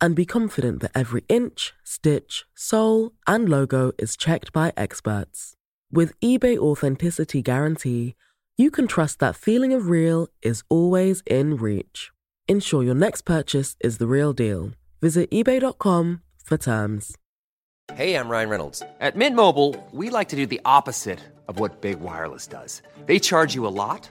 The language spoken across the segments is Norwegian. and be confident that every inch, stitch, sole, and logo is checked by experts. With eBay Authenticity Guarantee, you can trust that feeling of real is always in reach. Ensure your next purchase is the real deal. Visit eBay.com for terms. Hey, I'm Ryan Reynolds. At Mint Mobile, we like to do the opposite of what Big Wireless does. They charge you a lot,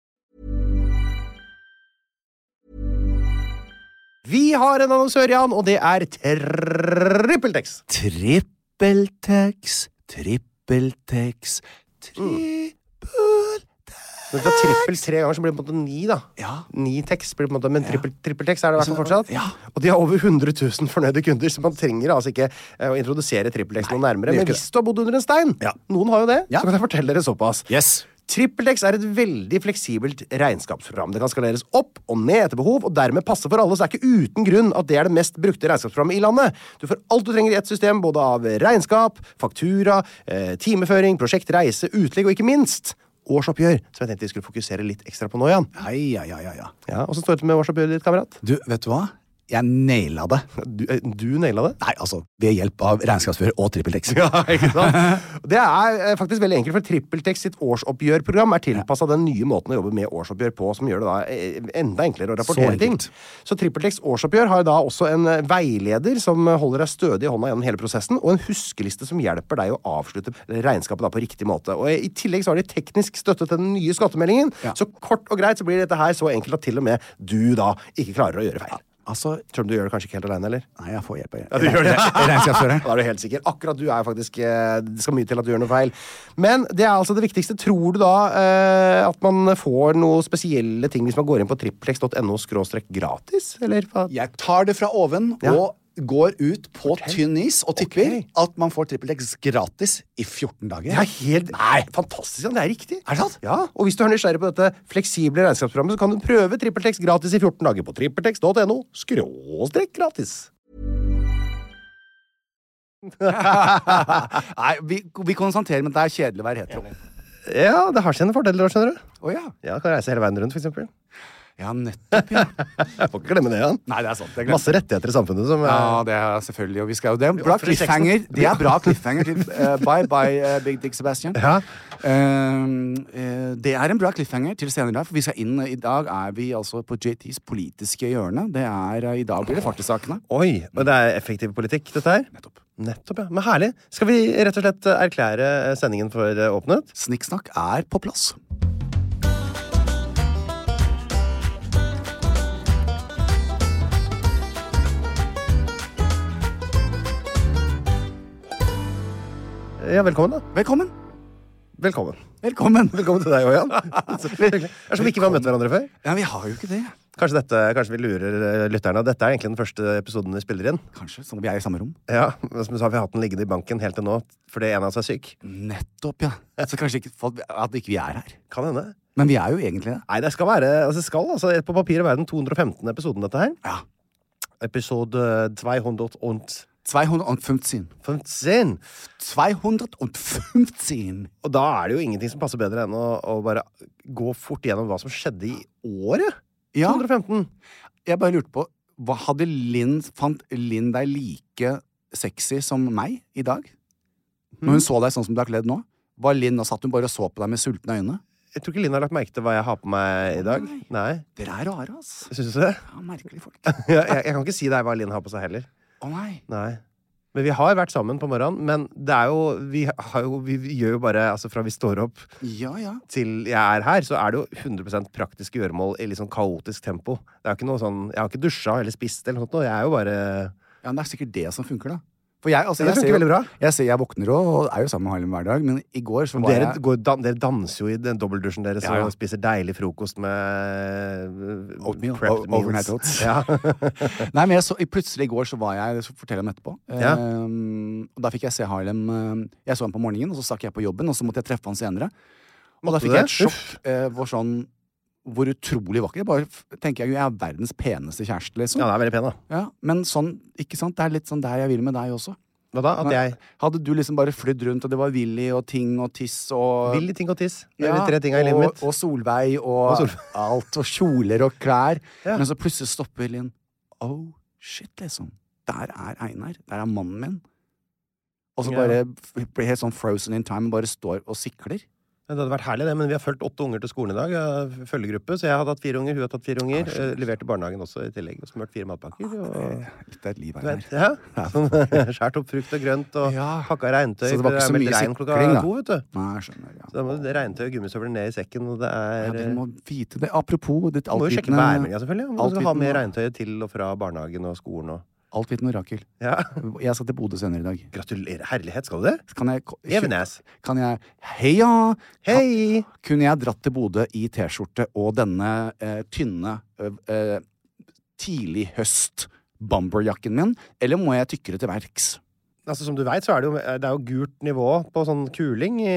Vi har en annonsør, Jan, og det er TrippelTex. Trippeltex, trippeltex, trippeltex Når du tar trippel tre ganger, så blir det på en måte ni, da. Ja. Ni tekst blir det på en måte, men trippel, trippeltekst er det i hvert fall fortsatt. Ja. Og de har over 100 000 fornøyde kunder, så man trenger altså ikke eh, å introdusere trippeltekst noe nærmere. det gjør Men ikke hvis du har bodd under en stein, Ja. noen har jo det, Ja. så kan jeg fortelle dere såpass. Yes. TrippelTex er et veldig fleksibelt regnskapsprogram. Det kan skaleres opp og ned etter behov, og dermed passe for alle, så det er ikke uten grunn at det er det mest brukte regnskapsprogrammet i landet. Du får alt du trenger i ett system, både av regnskap, faktura, eh, timeføring, prosjekt, reise, utlegg og ikke minst årsoppgjør, som jeg tenkte vi skulle fokusere litt ekstra på nå, Jan. Ai, ai, ai, ai, ai. Ja, Åssen står det til med årsoppgjøret ditt, kamerat? Du, vet du hva? Jeg naila det. Du, eh, du naila det. Nei, altså, ved hjelp av regnskapsfører og trippeltex. Ja, ikke sant? Det er eh, faktisk veldig enkelt, for TrippelTex sitt årsoppgjørprogram er tilpassa den nye måten å jobbe med årsoppgjør på, som gjør det da eh, enda enklere å rapportere Så ting. enkelt. Så TrippelTex årsoppgjør har da også en eh, veileder som eh, holder deg stødig i hånda gjennom hele prosessen, og en huskeliste som hjelper deg å avslutte regnskapet da på riktig måte. Og eh, I tillegg så har de teknisk støtte til den nye skattemeldingen, Ja. så kort og greit så blir dette her så enkelt at til og med du da ikke klarer å gjøre feil. Altså, Tror du du gjør det kanskje ikke helt aleine, eller? nei, jeg får hjelp av du gjør det. regnskapsføreren. Da er du helt sikker. Akkurat du er faktisk eh, Det skal mye til at du gjør noe feil. Men det er altså det viktigste. Tror du da eh, at man får noe spesielle ting hvis man går inn på triplex.no gratis? Eller hva? Jeg tar det fra oven Ja. og går ut på tynn is og tipper Ok. at man får trippeltex gratis i 14 dager. Det er helt Nei, fantastisk! Jan. Det er riktig. Er det sant? Ja, og Hvis du er nysgjerrig på dette fleksible regnskapsprogrammet, så kan du prøve TrippelTex gratis i 14 dager på trippeltex.no skråstrek gratis. Nei, vi, vi konstaterer med at det er kjedelig å være hetero. Ja, det har sine fordeler òg, skjønner du. Å ja. Ja, Kan reise hele veien rundt, for eksempel. Ja, nettopp, ja. Jeg får ikke glemme det, Jan. Nei, det er sant. Jeg glemte Masse rettigheter i samfunnet som Ja, eh, det er selvfølgelig. Og vi skal jo det. er en Bra ofrer sexen. cliffhanger. Det er bra cliffhanger til eh, Bye Bye eh, Big Dick Sebastian. Ja. Ehm, eh, det er en bra cliffhanger til senere i dag, for vi skal inn eh, I dag er vi altså på JTs politiske hjørne. Det er, eh, I dag blir det fart i sakene. Oi, og det er effektiv politikk, dette her? Nettopp. Nettopp, ja. Men herlig. Skal vi rett og slett eh, erklære eh, sendingen for eh, åpnet? Snikksnakk er på plass. Ja, velkommen, da. Velkommen. Velkommen. Velkommen. Velkommen til deg òg, Jan. Så hyggelig. Det er som ikke vi har møtt hverandre før. Ja, vi har jo ikke det. Kanskje, dette, kanskje vi lurer eh, lytterne. Dette er egentlig den første episoden vi spiller inn. Kanskje. Sånn at vi er i samme rom. Ja, men som du sa, Vi har hatt den liggende i banken helt til nå fordi en av oss er syk. Nettopp, ja. Så kanskje ikke folk- at ikke vi er her. Kan hende. Men vi er jo egentlig det. Nei, det skal være altså, det skal altså på papiret være den 215. episoden, dette her. Ja. Episode eh, 215. 215. 215. Og da er det jo ingenting som passer bedre enn å, å bare gå fort gjennom hva som skjedde i året Ja. 215. Jeg bare lurte på hva Hadde Linn Fant Linn deg like sexy som meg i dag? Når Hmm. hun så deg sånn som du har kledd nå? Var Linn nå satt hun bare og så på deg med sultne øyne? Jeg tror ikke Linn har lagt merke til hva jeg har på meg i dag. Nei. Nei. Dere er rare, ass. Syns du det? Ja, merkelige folk. Jeg, jeg kan ikke si deg hva Linn har på seg heller. Å nei. Nei. Men vi har vært sammen på morgenen, men det er jo Vi, har jo, vi gjør jo bare Altså fra vi står opp Ja, ja. til jeg er her, så er det jo 100 praktiske gjøremål i litt sånn kaotisk tempo. Det er jo ikke noe sånn Jeg har ikke dusja eller spist eller noe sånt. nå. Jeg er jo bare Ja, men Det er sikkert det som funker, da. For jeg, altså, Det jeg, funker ser, veldig jo- bra. jeg, ser, jeg våkner jo og er jo sammen med Harlem hver dag, men i går så var dere, jeg går, dan, dere danser jo i den dobbeldusjen deres Ja, ja. og spiser deilig frokost med eh, Oatmeal. prepped O- meals. overnight oats. Ja. Nei, men jeg så, plutselig i går så var jeg Så forteller jeg om etterpå. Ja. Ehm, og da fikk jeg se Harlem eh, Jeg så ham på morgenen, og så stakk jeg på jobben, og så måtte jeg treffe han senere. Og da Måtte fikk du jeg et det? sjokk eh, hvor sånn Hvor utrolig vakker. Jeg bare f- tenker jeg, jeg er verdens peneste kjæreste, liksom. ja, Ja, det er veldig pen, da. men sånn, ikke sant? Det er litt sånn der jeg vil med deg også. Hva da? At Nei. jeg Hadde du liksom bare flydd rundt, og det var Willy og ting og tiss og vil i ting og tiss. Det er Ja, de tre tinga i livet og, mitt. Og Solveig og, Og Solveig. alt. Og kjoler og klær. Ja. Men så plutselig stopper Linn. Oh shit, liksom. Der er Einar. Der er mannen min. Og så Ja. bare f- blir helt sånn frozen in time og bare står og sikler. Det hadde vært herlig, det, men vi har fulgt åtte unger til skolen i dag. eh, Følgegruppe. Så jeg hadde hatt fire unger, hun har tatt fire Ah, unger. eh, Levert i barnehagen også i tillegg. Og smurt fire matpakker. Og... Litt av et liv, Du Einar. vet, ja. Sånn, Skjært opp frukt og grønt og Ja. pakka regntøy. Så det var for ikke så er meldt mye regn klokka sikling, da. to, vet du. Nei, jeg skjønner. Ja. Så da må du regntøy og gummisøvler ned i sekken, og det Ja, er dere eh, må vite det. Apropos Du ditt må jo sjekke værmeldinga, selvfølgelig. om Du skal ha med altvitende, regntøyet til og fra barnehagen og skolen og altvitende orakel. Ja. Jeg skal til Bodø senere i dag. Gratulerer. Herlighet, skal du det? Kan jeg ko- Evenes. Kan jeg Heia! Hei! kunne jeg dratt til Bodø i T-skjorte og denne eh, tynne eh, eh, tidlig høst bomberjakken min, eller må jeg tykkere til verks? Altså, som du veit, så er det jo, det er jo gult nivå på sånn kuling i,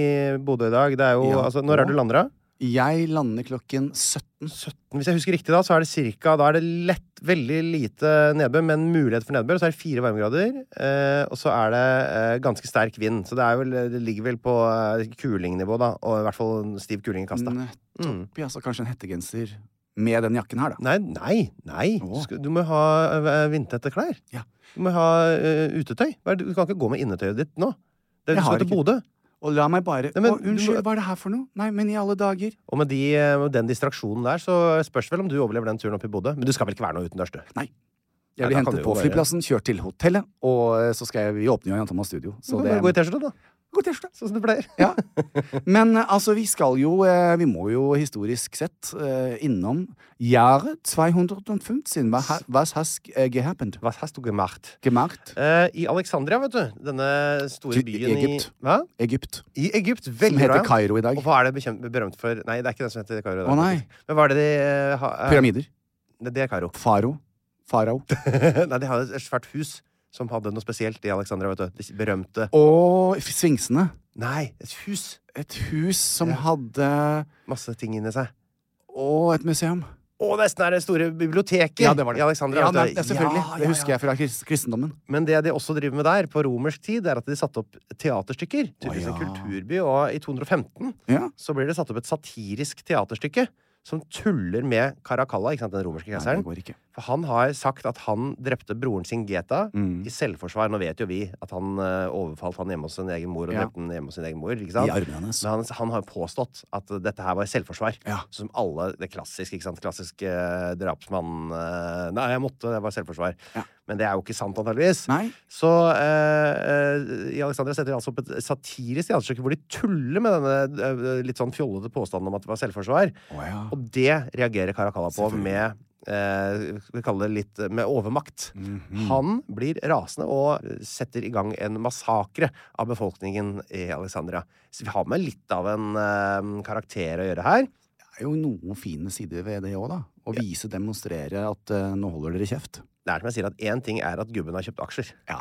i Bodø i dag. Det er jo, Ja, altså, når og- er det du lander, da? Jeg lander klokken 17. 17. Hvis jeg husker riktig, da, så er det cirka, da er det lett, veldig lite nedbør, men mulighet for nedbør. Så er det fire varmegrader, eh, og så er det eh, ganske sterk vind. Så det, er vel, det ligger vel på eh, kulingnivå, da. Og i hvert fall en stiv kuling i kast, da. Nettopp, Mm. ja. Så kanskje en hettegenser med den jakken her, da. Nei, nei, nei. Du, Å. skal, du må ha eh, vindtette klær. Ja. Du må ha eh, utetøy. Hva er det- Du kan ikke gå med innetøyet ditt nå. Det er du Jeg skal har til ikke. Bodø. Og la meg bare Nei, men Å, du må- unnskyld, hva er det her for noe? Nei, men i alle dager. Og med, de, eh, med den distraksjonen der, så spørs vel om du overlever den turen opp i Bodø. Men du skal vel ikke være noe utendørs, du. Jeg Nei, blir da kan du jo hentet på bare- flyplassen, kjørt til hotellet, og eh, så skal jeg, vi åpner jo Jan Thomas Studio. Så du Så kan det bare gå i T-skjorte, da. Gå i T-skjorte. Sånn som du pleier. Ja. Men eh, altså, vi skal jo eh, Vi må jo historisk sett eh, innom Jahre 215. Hva ha- was has eh, gehappened? Hva hast du gemacht? Gemacht? Eh, I Alexandria, vet du. Denne store Ty- byen Egypt. i Hva? Egypt. I Egypt. Som Veldig heter bra. Kairo i dag. Og hva er det bekjem- berømt for? Nei, det er ikke den som heter Kairo. det er Å, nei. faktisk. Men hva er det de eh, har eh, Pyramider. det- Det er Kairo. Faro. Farao. nei, de har et svært hus som hadde noe spesielt i Alexandria, vet du. Det berømte Og sfinksene. Nei, et hus. Et hus som Ja. hadde Masse ting inni seg. Og et museum. Å, nesten er det store biblioteket i Alexandria. Ja, nei, vet du. det, selvfølgelig. Ja, Det ja, husker ja. jeg fra krist kristendommen. Men det de også driver med der, på romersk tid, er at de satte opp teaterstykker. Tydeligvis en ja. kulturby. Og i 215 Ja. så blir det satt opp et satirisk teaterstykke som tuller med Caracalla, ikke sant, den romerske Nei, det keiseren. går ikke. For han har sagt at han drepte broren sin Geta Mm. i selvforsvar. Nå vet jo vi at han eh, overfalt han hjemme hos sin egen mor og Ja. drepte han hjemme hos sin egen mor. ikke I sant? armene hennes. Men han, han har påstått at dette her var selvforsvar. Ja. Som alle Det klassiske, ikke sant? Klassisk eh, drapsmann eh, Nei, jeg måtte, det var selvforsvar. Ja. Men det er jo ikke sant, antageligvis. Nei. Så eh, eh, i Alexandra setter de altså opp et satirisk teaterstykke hvor de tuller med denne eh, litt sånn fjollete påstanden om at det var selvforsvar. Å ja. Og det reagerer Caracalla på Selvfølgelig. med eh, skal vi kalle det litt eh, med overmakt. Mhm. Han blir rasende og eh, setter i gang en massakre av befolkningen i Alexandria. Så vi har med litt av en eh, karakter å gjøre her. Det er jo noen fine sider ved det òg, da. Å vise, demonstrere at eh, nå holder dere kjeft. Det er som jeg sier at én ting er at gubben har kjøpt aksjer, Ja.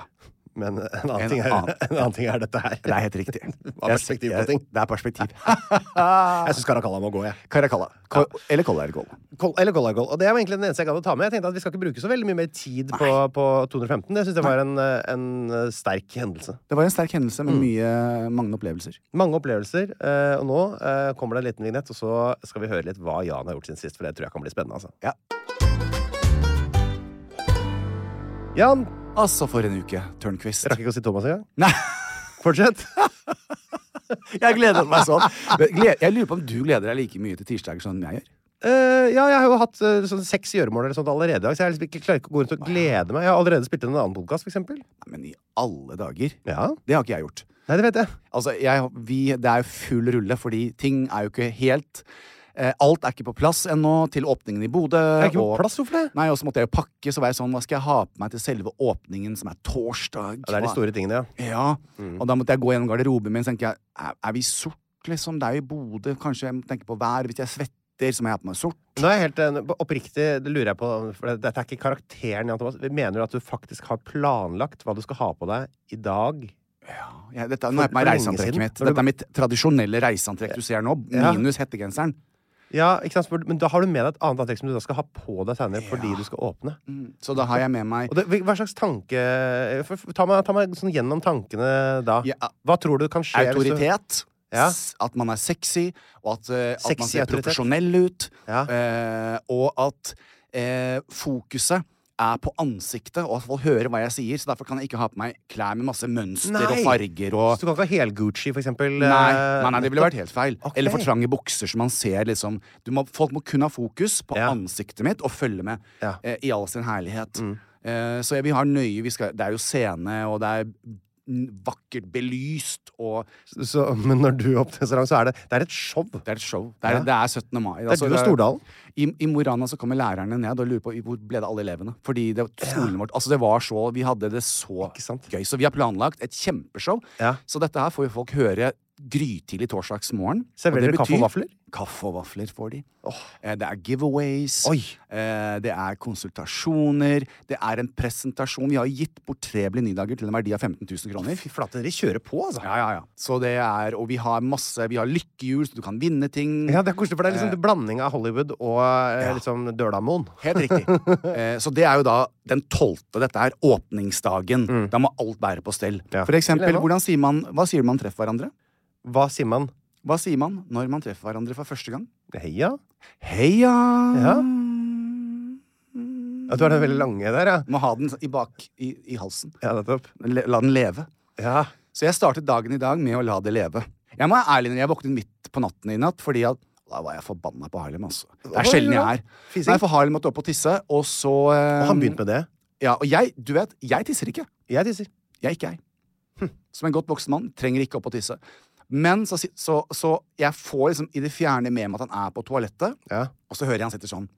men en annen, En ting, er, annen- en annen ting er dette her. Det er helt riktig. Av perspektiv på ting. Det er perspektiv. Jeg syns Caracalla må gå, jeg. Caracalla. Ko Eller Collargoll. Kol, eller Gollagol. Og det var egentlig den eneste jeg gadd å ta med. Jeg tenkte at Vi skal ikke bruke så veldig mye mer tid på, på 215. Jeg syns det var en, eh, en eh, sterk hendelse. Det var en sterk hendelse Mm. med mye, mange opplevelser. Mange opplevelser. eh, og nå eh, kommer det en liten vignett, og så skal vi høre litt hva Jan har gjort siden sist. For det tror jeg kan bli spennende. altså. Ja. Jan Altså, for en uke, Tørnquist. Jeg rakk ikke å si Thomas engang. Nei, Fortsett. sånn. jeg gleder meg sånn. Men gled- Jeg lurer på om du gleder deg like mye til tirsdager som jeg gjør. Eh, ja, jeg har jo hatt eh, sånn seks gjøremål eller sånt allerede i dag, så jeg er liksom ikke, klarer ikke å gå rundt og glede meg. Jeg har allerede spilt inn en annen podkast, for eksempel. Nei, men i alle dager. Ja. Det har ikke jeg gjort. Nei, det vet jeg. Altså, jeg, vi, det er jo full rulle, fordi ting er jo ikke helt eh, Alt er ikke på plass ennå til åpningen i Bodø. Jeg er ikke Eh, og- på plass, hvorfor det? Nei, og så måtte jeg jo pakke, så var jeg sånn, hva skal jeg ha på meg til selve åpningen, som er torsdag? Ja, det er de Hva- store tingene, ja. Ja, Mm. og da måtte jeg gå gjennom garderoben min, så tenker jeg, er, er vi sort, liksom? Det er jo i Bodø, kanskje jeg må tenke på vær, hvis jeg svetter, så må jeg ha på meg sort. Nå er jeg helt eh, oppriktig, det lurer jeg på, for det- dette er ikke karakteren, Jan Thomas. Mener du at du faktisk har planlagt hva du skal ha på deg i dag? Ja, dette, nå er jeg på for meg lenge reiseantrekket siden. mitt. Men- Dette er mitt tradisjonelle reiseantrekk du ser nå, Ja. minus hettegenseren. Ja, ikke sant? for- Men da har du med deg et annet antrekk som du da skal ha på deg senere fordi du skal åpne. Så da har jeg med meg Og det, hva slags tanke f- f- Ta meg, ta meg sånn gjennom tankene da. Ja. Hva tror du kan skje? hvis du- autoritet. Ja. s- At man er sexy, og at, eh, at man Sexy ser autoritet. profesjonell ut. Ja. eh, og at eh, fokuset er på ansiktet, og at folk hører hva jeg sier. Så derfor kan jeg ikke ha på meg klær med masse mønster og Nei. farger og Så du kan ikke ha hel-Gucci, for eksempel? Nei, nei, nei, det ville eh, nettopp? vært helt feil. Ok. Eller for trange bukser, så man ser liksom du må, Folk må kun ha fokus på Ja. ansiktet mitt og følge med Ja. Mm. eh, i all sin herlighet. Eh, så vi har nøye vi skal, Det er jo scene, og det er mm, vakkert belyst, og Så, men når du opptrer så langt, så er det Det er et show. Det Det er et show. Det er, Ja. det er 17. mai. Altså, er du og Stordalen. I, I Morana så kommer lærerne ned og lurer på hvor ble det av alle elevene. Fordi det, skolen vårt, altså det var så, Vi hadde det så Ikke sant? gøy. Så vi har planlagt et kjempeshow. Ja. Så dette her får jo folk høre grytidlig torsdagsmorgen. Serverer dere det kaffe og betyr- vafler? Kaffe og vafler får de. Eh, Det er giveaways. Oi. Eh, Det er konsultasjoner. Det er en presentasjon. Vi har gitt bort tre Blindedager til en verdi av 15 000 kroner. Fy flate, dere kjører på, altså. Ja, ja, ja. Så det er, og vi har masse Vi har lykkehjul, så du kan vinne ting. Ja, det er koselig, for det er liksom Eh. en blanding av Hollywood og eh, liksom Dølamoen. Helt riktig. Eh, så det er jo da den tolvte. Dette er åpningsdagen. Da må alt være på stell. Ja. For eksempel, Dilemma. hvordan sier man, hva sier man treffer hverandre? Hva sier man? Hva sier man når man treffer hverandre for første gang? Heia? Heia! Ja. Ja, du har den veldig lange der, ja. Må ha den i bak i, i halsen. Ja, nettopp. Le, la den leve. Ja. Så jeg startet dagen i dag med å la det leve. Jeg må være ærlig når jeg våknet midt på natten i natt, fordi at da var jeg forbanna på Harlem, altså. Det er Oi, sjelden ja. jeg er. Fising. Nei, for Harlem måtte opp og tisse, og så eh, Og han begynte med det. Ja, og jeg, du vet, jeg tisser ikke. Jeg tisser. Jeg ikke jeg. Hm. Som en godt voksen mann trenger ikke opp og tisse. Men så, si- så, så jeg får liksom i det fjerne med meg at han er på toalettet, Ja. og så hører jeg han sitter sånn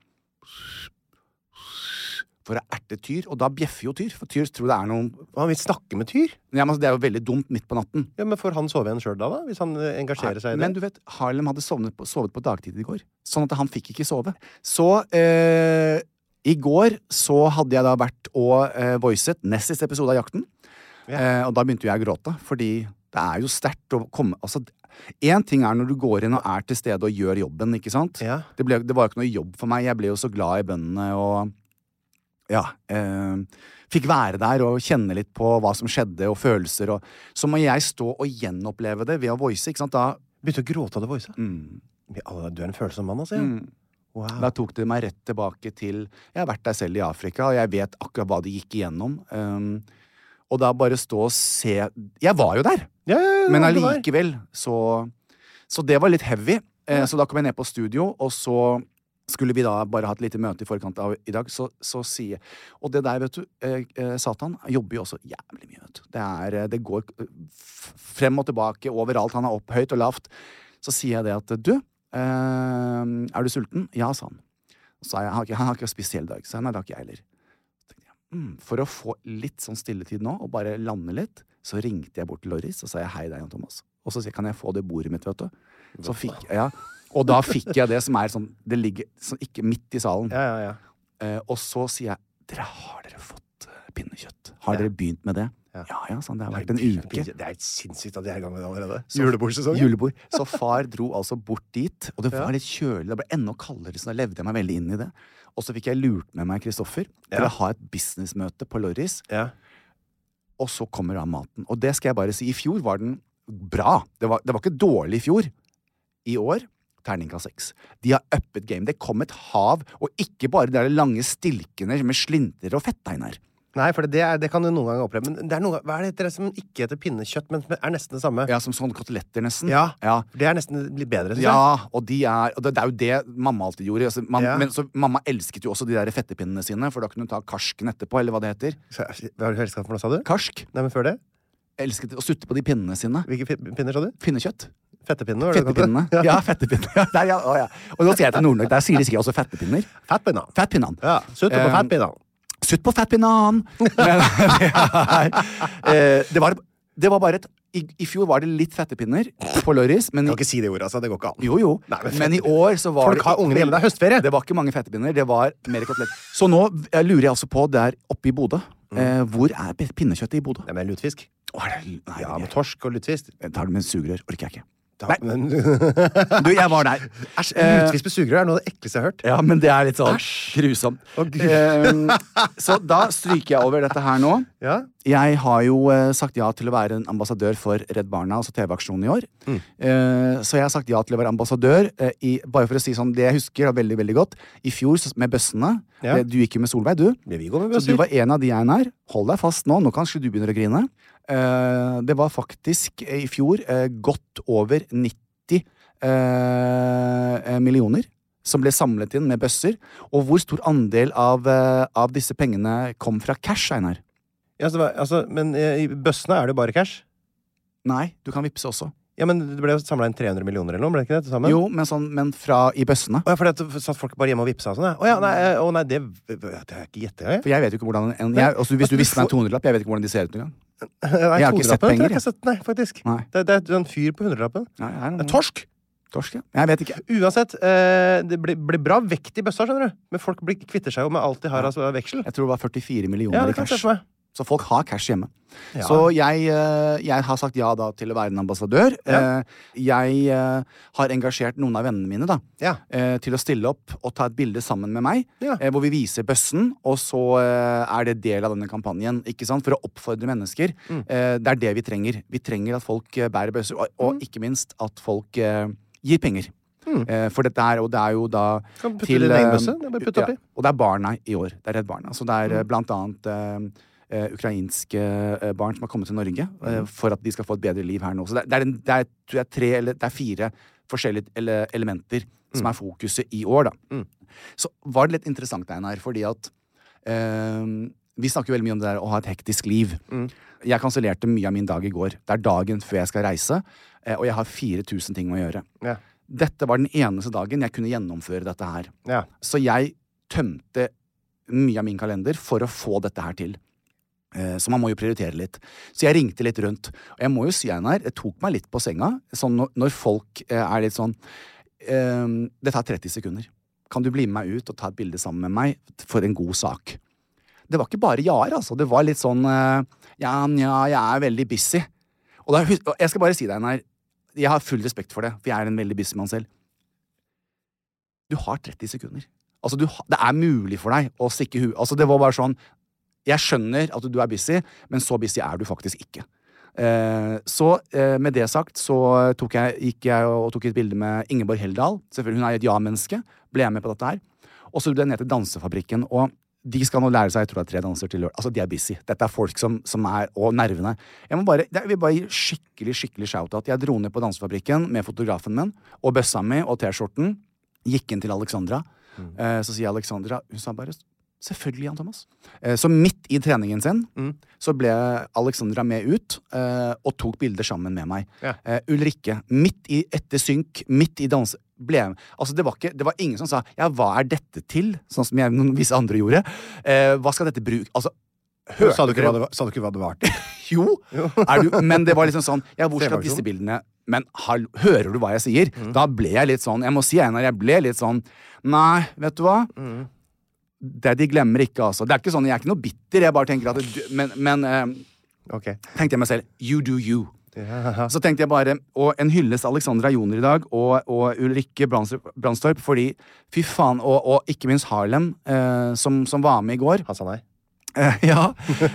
For å erte Tyr, og da bjeffer jo Tyr, for Tyr tror det er noen Og han vil snakke med tyr. ja, men altså, Det er jo veldig dumt midt på natten. Ja, Men får han sove igjen sjøl da, da? Hvis han eh, engasjerer seg i det? Men du vet, Harlem hadde sovnet på, sovet på dagtid i går, sånn at han fikk ikke sove. Så eh, i går så hadde jeg da vært og eh, voicet nest siste episode av Jakten. Eh, og da begynte jo jeg å gråte, fordi det er jo sterkt å komme Altså, én ting er når du går inn og er til stede og gjør jobben, ikke sant? Ja. Det, ble, det var jo ikke noe jobb for meg. Jeg ble jo så glad i bøndene og ja, eh, fikk være der og kjenne litt på hva som skjedde, og følelser. Og, så må jeg stå og gjenoppleve det ved å voice. ikke sant? Da Begynte å gråte av det voisa? Men alle- Du er en følsom mann, altså. Ja. Wow. Mm. Da tok det meg rett tilbake til Jeg har vært der selv i Afrika, og jeg vet akkurat hva de gikk igjennom. Um, og da bare stå og se Jeg var jo der! Ja, ja, ja, Men det var. allikevel, så Så det var litt heavy. Eh, så da kom jeg ned på studio, og så skulle vi da bare ha et lite møte i forkant av i dag, så, så sier jeg Og det der, vet du, eh, eh, Satan jobber jo også jævlig mye, vet du. Det, er, eh, det går eh, f- frem og tilbake overalt. Han er opp høyt og lavt. Så sier jeg det at du, eh, er du sulten? Ja, sa han. Så sa jeg, han har ikke, han har ikke spist hele dag. Så sa jeg, nei, det har ikke jeg heller. Så tenkte jeg, Mm. For å få litt sånn stilletid nå, og bare lande litt, så ringte jeg bort til Loris og sa jeg, hei, det er Jan Thomas. Og så sier jeg, kan jeg få det bordet mitt, vet du. Så fikk, ja. Og da fikk jeg det som er sånn, det ligger sånn, ikke midt i salen. Ja, ja, ja. Eh, og så sier jeg, dere har dere fått eh, pinnekjøtt? Har dere begynt med det? Ja, ja, sånn, det har vært en uke. Det er sinnssykt at de er i gang med det allerede. Så- Julebordsesongen. Julebord. Så far dro altså bort dit, og det var litt kjølig. Det ble enda kaldere, så da levde jeg meg veldig inn i det. Og så fikk jeg lurt med meg Kristoffer til Ja. å ha et businessmøte på Lorris. Ja. Og så kommer da maten. Og det skal jeg bare si. I fjor var den bra. Det var, det var ikke dårlig i fjor. I år terningkast seks. De har uppet game. Det kom et hav, og ikke bare de der lange stilkene med slinter og fettdeig her. Nei, for det, er, det kan du noen ganger oppleve. Men det er noen, ganger- hva er det heter det som ikke heter pinnekjøtt, men som er nesten det samme? Ja, Som sånne koteletter, nesten. Ja. ja. Det er nesten litt bedre, synes jeg. Ja, og de er, og det, det er jo det mamma alltid gjorde. Altså, man, Ja. men, så, mamma elsket jo også de der fettepinnene sine, for da kunne hun ta karsken etterpå. Eller hva det heter. Så- Hva har du helskap for noe, sa du? Karsk. Nei, men før det? Elsket å sutte på de pinnene sine. Hvilke pi- pinner sa du? Pinnekjøtt. Fettepinnene? var det du kalte det? Fettepinnene. Ja, fettepinnene. Ja, der, ja, å, ja. Og nå sier jeg til Nord-Norge, der sier de sikkert også fettepinner. Fettpinna. Fettpinnene. Ja, Sutt på Eh, fettpinna. Sutt på fettpinnene! Men, det, er- eh, det, var, det var bare et i, I fjor var det litt fettepinner på Lorris, men Kan ikke si det ordet, altså. Det går ikke an. Jo, jo. Nei, men men, fett- i år så var Folk har ungene hjemme, det er høstferie. Det var ikke mange fettepinner. Det var mer kotelett. Så nå eh, lurer jeg altså på, der oppe i Bodø Mm. eh, Hvor er p- pinnekjøttet i Bodø? Nei, men lutefisk. Å, er det- Nei, Ja, det men er- torsk og lutefisk. jeg tar det med sugerør. Orker jeg ikke. Da, Nei. men, Du, jeg var der. Æsj, Eh, lutefisk med sugerør er noe av det ekleste jeg har hørt. Ja, men det er litt sånn grusomt. Å, Gud. Eh, så da stryker jeg over dette her nå. Ja. Jeg har jo eh, sagt ja til å være en ambassadør for Redd Barna, altså TV-aksjonen i år. Mm. Eh, så jeg har sagt ja til å være ambassadør. Eh, i, bare for å si sånn, Det jeg husker da, veldig veldig godt, i fjor så, med bøssene Ja. det, Du gikk jo med Solveig, du. Men vi går med Så du bøsser. var en av de jeg er. Hold deg fast nå. Nå kanskje du begynner å grine. Eh, det var faktisk eh, i fjor eh, godt over 90 eh, millioner som ble samlet inn med bøsser. Og hvor stor andel av, eh, av disse pengene kom fra cash, Einar? Ja, så, det var- altså, men eh, i bøssene er det jo bare cash. Nei, du kan vippse også. Ja, men Det ble jo samla inn 300 millioner eller noe? ble det ikke det til sammen? Jo, men, sånn, men fra i bøssene. Å ja, for det satt folk bare hjemme og vippsa og sånn? ja. Å ja, nei, eh, å, nei det, det har jeg ikke gjetta, jeg. For jeg vet jo ikke hvordan en, jeg, også, Hvis du visste meg en 200-lapp, jeg vet ikke hvordan de ser ut engang. Nei, har ikke 200-lappen tror jeg sett penger, ikke jeg har sett, Nei, faktisk. Nei. Det, det er en fyr på hundrelappen. Nei, jeg er Det noe- er Torsk! Torsk, ja. Jeg vet ikke. Uansett, eh, det blir, blir bra vekt i bøssa, skjønner du. Men folk blir, kvitter seg jo med alt de har av altså, veksel. Jeg tror det var 44 millioner Ja, i det kan jeg se cash. for meg. Så folk har cash hjemme. Ja. Så jeg, eh, jeg har sagt ja da til å være en ambassadør. Ja. Eh, Jeg eh, har engasjert noen av vennene mine da, Ja. eh, til å stille opp og ta et bilde sammen med meg. Ja. eh, Hvor vi viser bøssen, og så eh, er det del av denne kampanjen. ikke sant? For å oppfordre mennesker. Mm. Eh, Det er det vi trenger. Vi trenger at folk eh, bærer bøsser, og, Mm. og ikke minst at folk eh, gir penger. Eh, For dette er, og det er jo da Kan putte i din egen eh, bøsse. Det er bare å putte oppi. Mm. og det er barna i år. Det er Redd Barna. Så det er eh, blant annet eh, eh, ukrainske eh, barn som har kommet til Norge eh, Mm. for at de skal få et bedre liv her nå. Så det, det, er, en, det, er, tror jeg, tre, eller, det er fire forskjellige ele elementer Mm. som er fokuset i år, da. Så var det litt interessant, Einar, fordi at eh, vi snakker jo veldig mye om det der å ha et hektisk liv. Mm. Jeg kansellerte mye av min dag i går. Det er dagen før jeg skal reise, eh, og jeg har 4000 ting å gjøre. Ja. Dette var den eneste dagen jeg kunne gjennomføre dette her. Ja. Så jeg tømte mye av min kalender for å få dette her til. Eh, Så man må jo prioritere litt. Så jeg ringte litt rundt. Og jeg må jo si, Einar, det tok meg litt på senga sånn når, når folk eh, er litt sånn ehm, Det tar 30 sekunder. Kan du bli med meg ut og ta et bilde sammen med meg for en god sak? Det var ikke bare ja-er, altså. Det var litt sånn eh, Ja, nja, jeg er veldig busy. Og da, hus- og jeg skal bare si deg, Einar, jeg har full respekt for det, for jeg er en veldig busy mann selv. Du har 30 sekunder. Altså, du, ha- det er mulig for deg å stikke huet altså, Det var bare sånn Jeg skjønner at du er busy, men så busy er du faktisk ikke. Eh, så eh, med det sagt så tok jeg, gikk jeg og tok et bilde med Ingeborg Heldal. Selvfølgelig, Hun er et ja-menneske. Ble jeg med på dette her. Og så ble jeg ned til Dansefabrikken. og de skal nå lære seg jeg tror det er tre danser til lørdag. Altså, de er busy. Dette er folk som, som er Og nervene. Jeg må bare, jeg vil bare gi skikkelig skikkelig shout-out. Jeg dro ned på Dansefabrikken med fotografen min og bøssa mi og T-skjorten. Gikk inn til Alexandra. Eh, så sier Alexandra Hun sa bare Selvfølgelig, Jan Thomas. Eh, så midt i treningen sin så ble Alexandra med ut eh, og tok bilder sammen med meg. Ja. Eh, Ulrikke, midt i etter synk, midt i danse... Ble, altså det, var ikke, det var ingen som sa 'ja, hva er dette til', sånn som jeg, noen visse andre gjorde. Eh, hva skal dette bruke Altså, hørte Sa du ikke dere- hva det var- sa du ikke hva det var til? jo. Er du, men det var liksom sånn Ja, hvor skal Trevaksjon. disse bildene Men hallo, hører du hva jeg sier? Mm. Da ble jeg litt sånn Jeg må si, Einar, jeg ble litt sånn Nei, vet du hva? Mm. Det de glemmer ikke, altså. Det er ikke sånn, Jeg er ikke noe bitter, jeg bare tenker at du, Men, men eh, Ok. tenkte jeg meg selv. You do you. Så tenkte jeg bare Og en hyllest til Alexandra Joner i dag og, og Ulrikke Brandstorp, Brandstorp, fordi fy faen, og, og ikke minst Harlem, eh, som, som var med i går. Han sa nei. Eh, ja.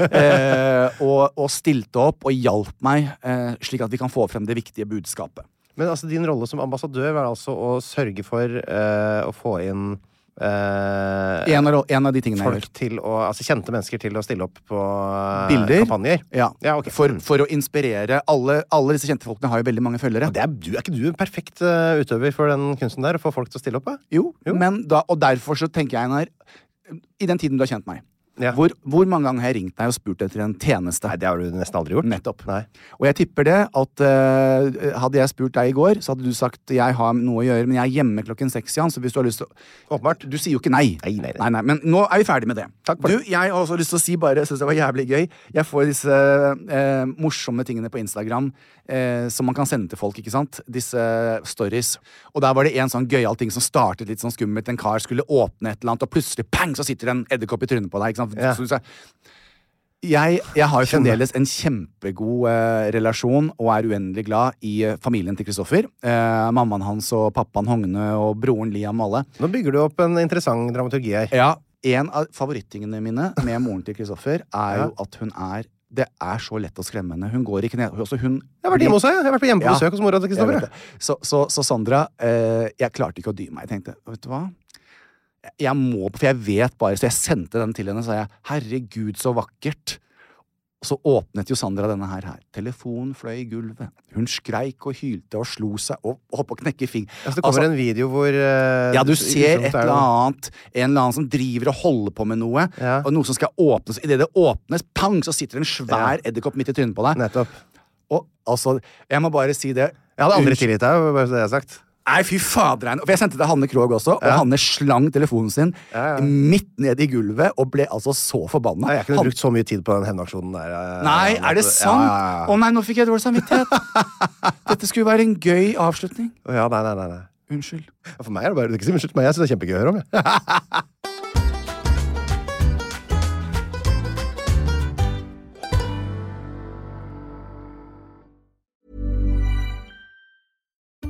Eh, og, og stilte opp og hjalp meg, eh, slik at vi kan få frem det viktige budskapet. Men altså, din rolle som ambassadør var altså å sørge for eh, å få inn eh, En av, en av de tingene jeg folk gjør. til å Altså kjente mennesker til å stille opp på eh, Bilder? kampanjer. Ja. Ja, ok. Mm. for, for å inspirere alle, alle disse kjente folkene har jo veldig mange følgere. Det er, du, er ikke du en perfekt eh, utøver for den kunsten der? Å få folk til å stille opp? da? Jo, Men da, og derfor så tenker jeg Einar, I den tiden du har kjent meg, Ja. hvor, hvor mange ganger har jeg ringt deg og spurt etter en tjeneste? Nei, det har du nesten aldri gjort. Nettopp. Nei. Og jeg tipper det at eh, hadde jeg spurt deg i går, så hadde du sagt jeg har noe å gjøre, men jeg er hjemme klokken seks igjen, så hvis du har lyst til å Åpenbart. Du sier jo ikke nei. Nei, nei, nei. Men nå er vi ferdig med det. Takk for du, det. jeg har også lyst til å si bare, jeg synes det var jævlig gøy, jeg får disse eh, morsomme tingene på Instagram eh, som man kan sende til folk, ikke sant? Disse stories. Og der var det en sånn gøyal ting som startet litt sånn skummelt. En kar skulle åpne et eller annet, og plutselig pang, så sitter det en edderkopp i trynet på deg. ikke sant? Ja. Så du sa, jeg, jeg har jo Skjønner. fremdeles en kjempegod eh, relasjon og er uendelig glad i eh, familien til Kristoffer. Eh, mammaen hans og pappaen Hogne og broren Liam og alle. Nå bygger du opp en interessant dramaturgi her. Ja, En av favorittingene mine med moren til Kristoffer er jo at hun er Det er så lett å skremme henne. Hun går i kne... Altså hun Jeg har vært hjemme hos deg. Jeg har vært på hjemme på Ja. besøk hos mora til Jeg vet Kristoffer. jeg. det. Så, så, så Sandra, eh, jeg klarte ikke å dy meg. Jeg tenkte, vet du hva? Jeg må, for jeg vet bare, så jeg sendte den til henne, så sa jeg, herregud, så vakkert. Og så åpnet jo Sandra denne her. her. Telefonen fløy i gulvet. Hun skreik og hylte og slo seg og holdt på å knekke fing. Altså, det kommer Altså, en video hvor eh, ja, du utromt ser et er eller det. annet, en eller annen som driver og holder på med noe, Ja. og noe som skal åpnes. Idet det åpnes, pang, så sitter en Ja. svær edderkopp midt i trynet på deg. Nettopp. Og altså, jeg må bare si det. Jeg hadde aldri Unnskyld- tilgitt deg, bare så det er sagt. Nei, fy fader. Einar. For jeg sendte det til Hanne Krogh også, og Hanne slang telefonen sin Ja, ja. midt ned i gulvet og ble altså så forbanna. Nei, jeg kunne Han- brukt så mye tid på den hevnaksjonen der. eh, Nei, er det at- sant? Å Ja, ja, ja. nei, nå fikk jeg dårlig samvittighet. Dette skulle være en gøy avslutning. Å, ja, nei, nei, nei, nei. Unnskyld. For meg er det bare du kan ikke si unnskyld, men jeg syns det er kjempegøy å høre om. Jeg.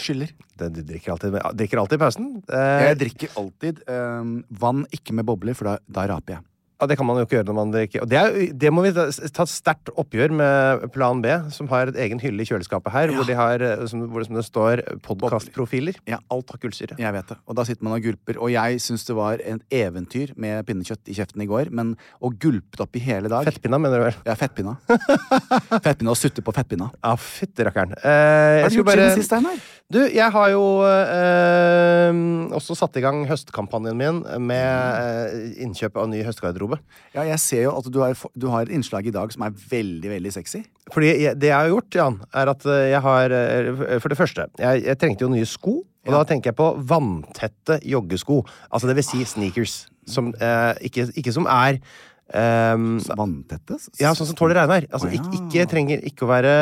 Skylder. Det- Du drikker alltid, men- drikker alltid i pausen. Eh, Jeg drikker alltid eh, vann ikke med bobler, for da, da raper jeg. ja, det kan man jo ikke gjøre når man drikker. Og det, er, jo- det må vi ta ta et sterkt oppgjør med Plan B, som har et egen hylle i kjøleskapet her, hvor, de har, eh, som, hvor det, som det står, podkastprofiler. Ja. Alt har kullsyre. Jeg vet det. Og da sitter man og gulper. Og jeg syns det var et eventyr med pinnekjøtt i kjeften i går, men å gulpe det opp i hele dag Fettpinna, mener du vel? Ja, fettpinna. fettpinna og sutte på fettpinna. Ja, Ah, fytti rakkeren. Eh, Hva har jeg du skulle gjort bare- siden sist, Einar? Du, jeg har jo eh, også satt i gang høstkampanjen min med eh, innkjøp av ny høstgarderobe. Ja, jeg ser jo at du har, du har et innslag i dag som er veldig, veldig sexy. Fordi jeg, det jeg har gjort, Jan, er at eh, jeg har eh, f- For det første, jeg, jeg trengte jo nye sko. Og da tenker jeg på vanntette joggesko. Altså det vil si sneakers. Som eh, ikke, ikke som er Ehm, Mm. Vanntette? S- ja, sånn som tåler regnvær. Altså, Å, ja. ikke, ikke trenger ikke å være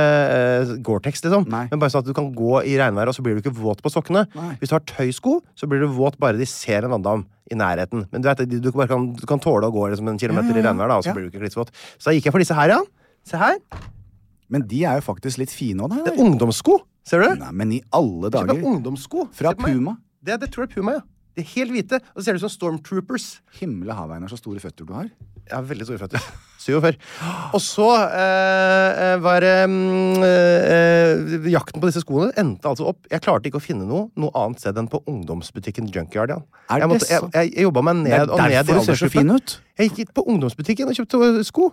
uh, Gore-Tex, liksom. Nei. Men bare sånn at du kan gå i regnvær, og så blir du ikke våt på sokkene. Nei. Hvis du har tøysko, så blir du våt bare de ser en vanndam i nærheten. Men du, vet, du, du, bare kan, du kan tåle å gå liksom, en kilometer i regnvær, da, og så Ja. blir du ikke klissvåt. Så da gikk jeg for disse her, ja. Se her. Men de er jo faktisk litt fine òg, Det da. er ungdomssko. Ser du? Nei, men i alle Kjøp dager. meg ungdomssko. Fra Se på meg. Puma. Det, det tror jeg er Puma, ja. De er helt hvite, og så ser de ut som Stormtroopers. Himle haveinar, så store føtter du har. Jeg har veldig store føtter. 47. Og så eh, eh, var det mm, eh, eh, Jakten på disse skoene endte altså opp Jeg klarte ikke å finne noe noe annet sted enn på ungdomsbutikken Junkyard. Ja. Jeg, Er det måtte, jeg, så- jeg, jeg jobba meg Det er ned og ned i derfor du ser så fin aldersgruppen. ut. Jeg gikk på ungdomsbutikken og kjøpte sko.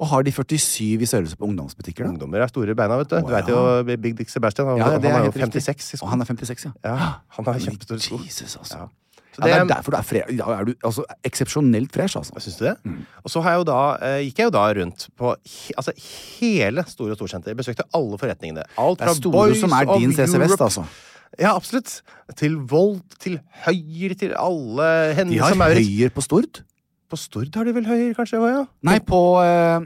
Og har de 47 i størrelse på ungdomsbutikker, da? Ungdommer er store i beina, vet du. Du ja. vet jo Big Dick Sebastian. Han, Ja, det han er jo helt riktig. 56 i Og sko. han er 56, ja. Ja, han har kjempestore sko. Jesus, altså. Ja. Ja. Så det, det- er derfor du er fresh. Da er du altså, eksepsjonelt fresh, altså. Syns du det? Og så har jeg jo da, eh, gikk jeg jo da rundt på he, altså, hele Store og Storsenter. Besøkte alle forretningene. Alt Det er fra store Boys som er of din CC Vest, Europe- altså. Ja, absolutt. Til Volt, til Høyre, til alle henne De har som er høyer på Stord. På Stord har de vel Høyre, kanskje? hva, Ja. Nei, på eh,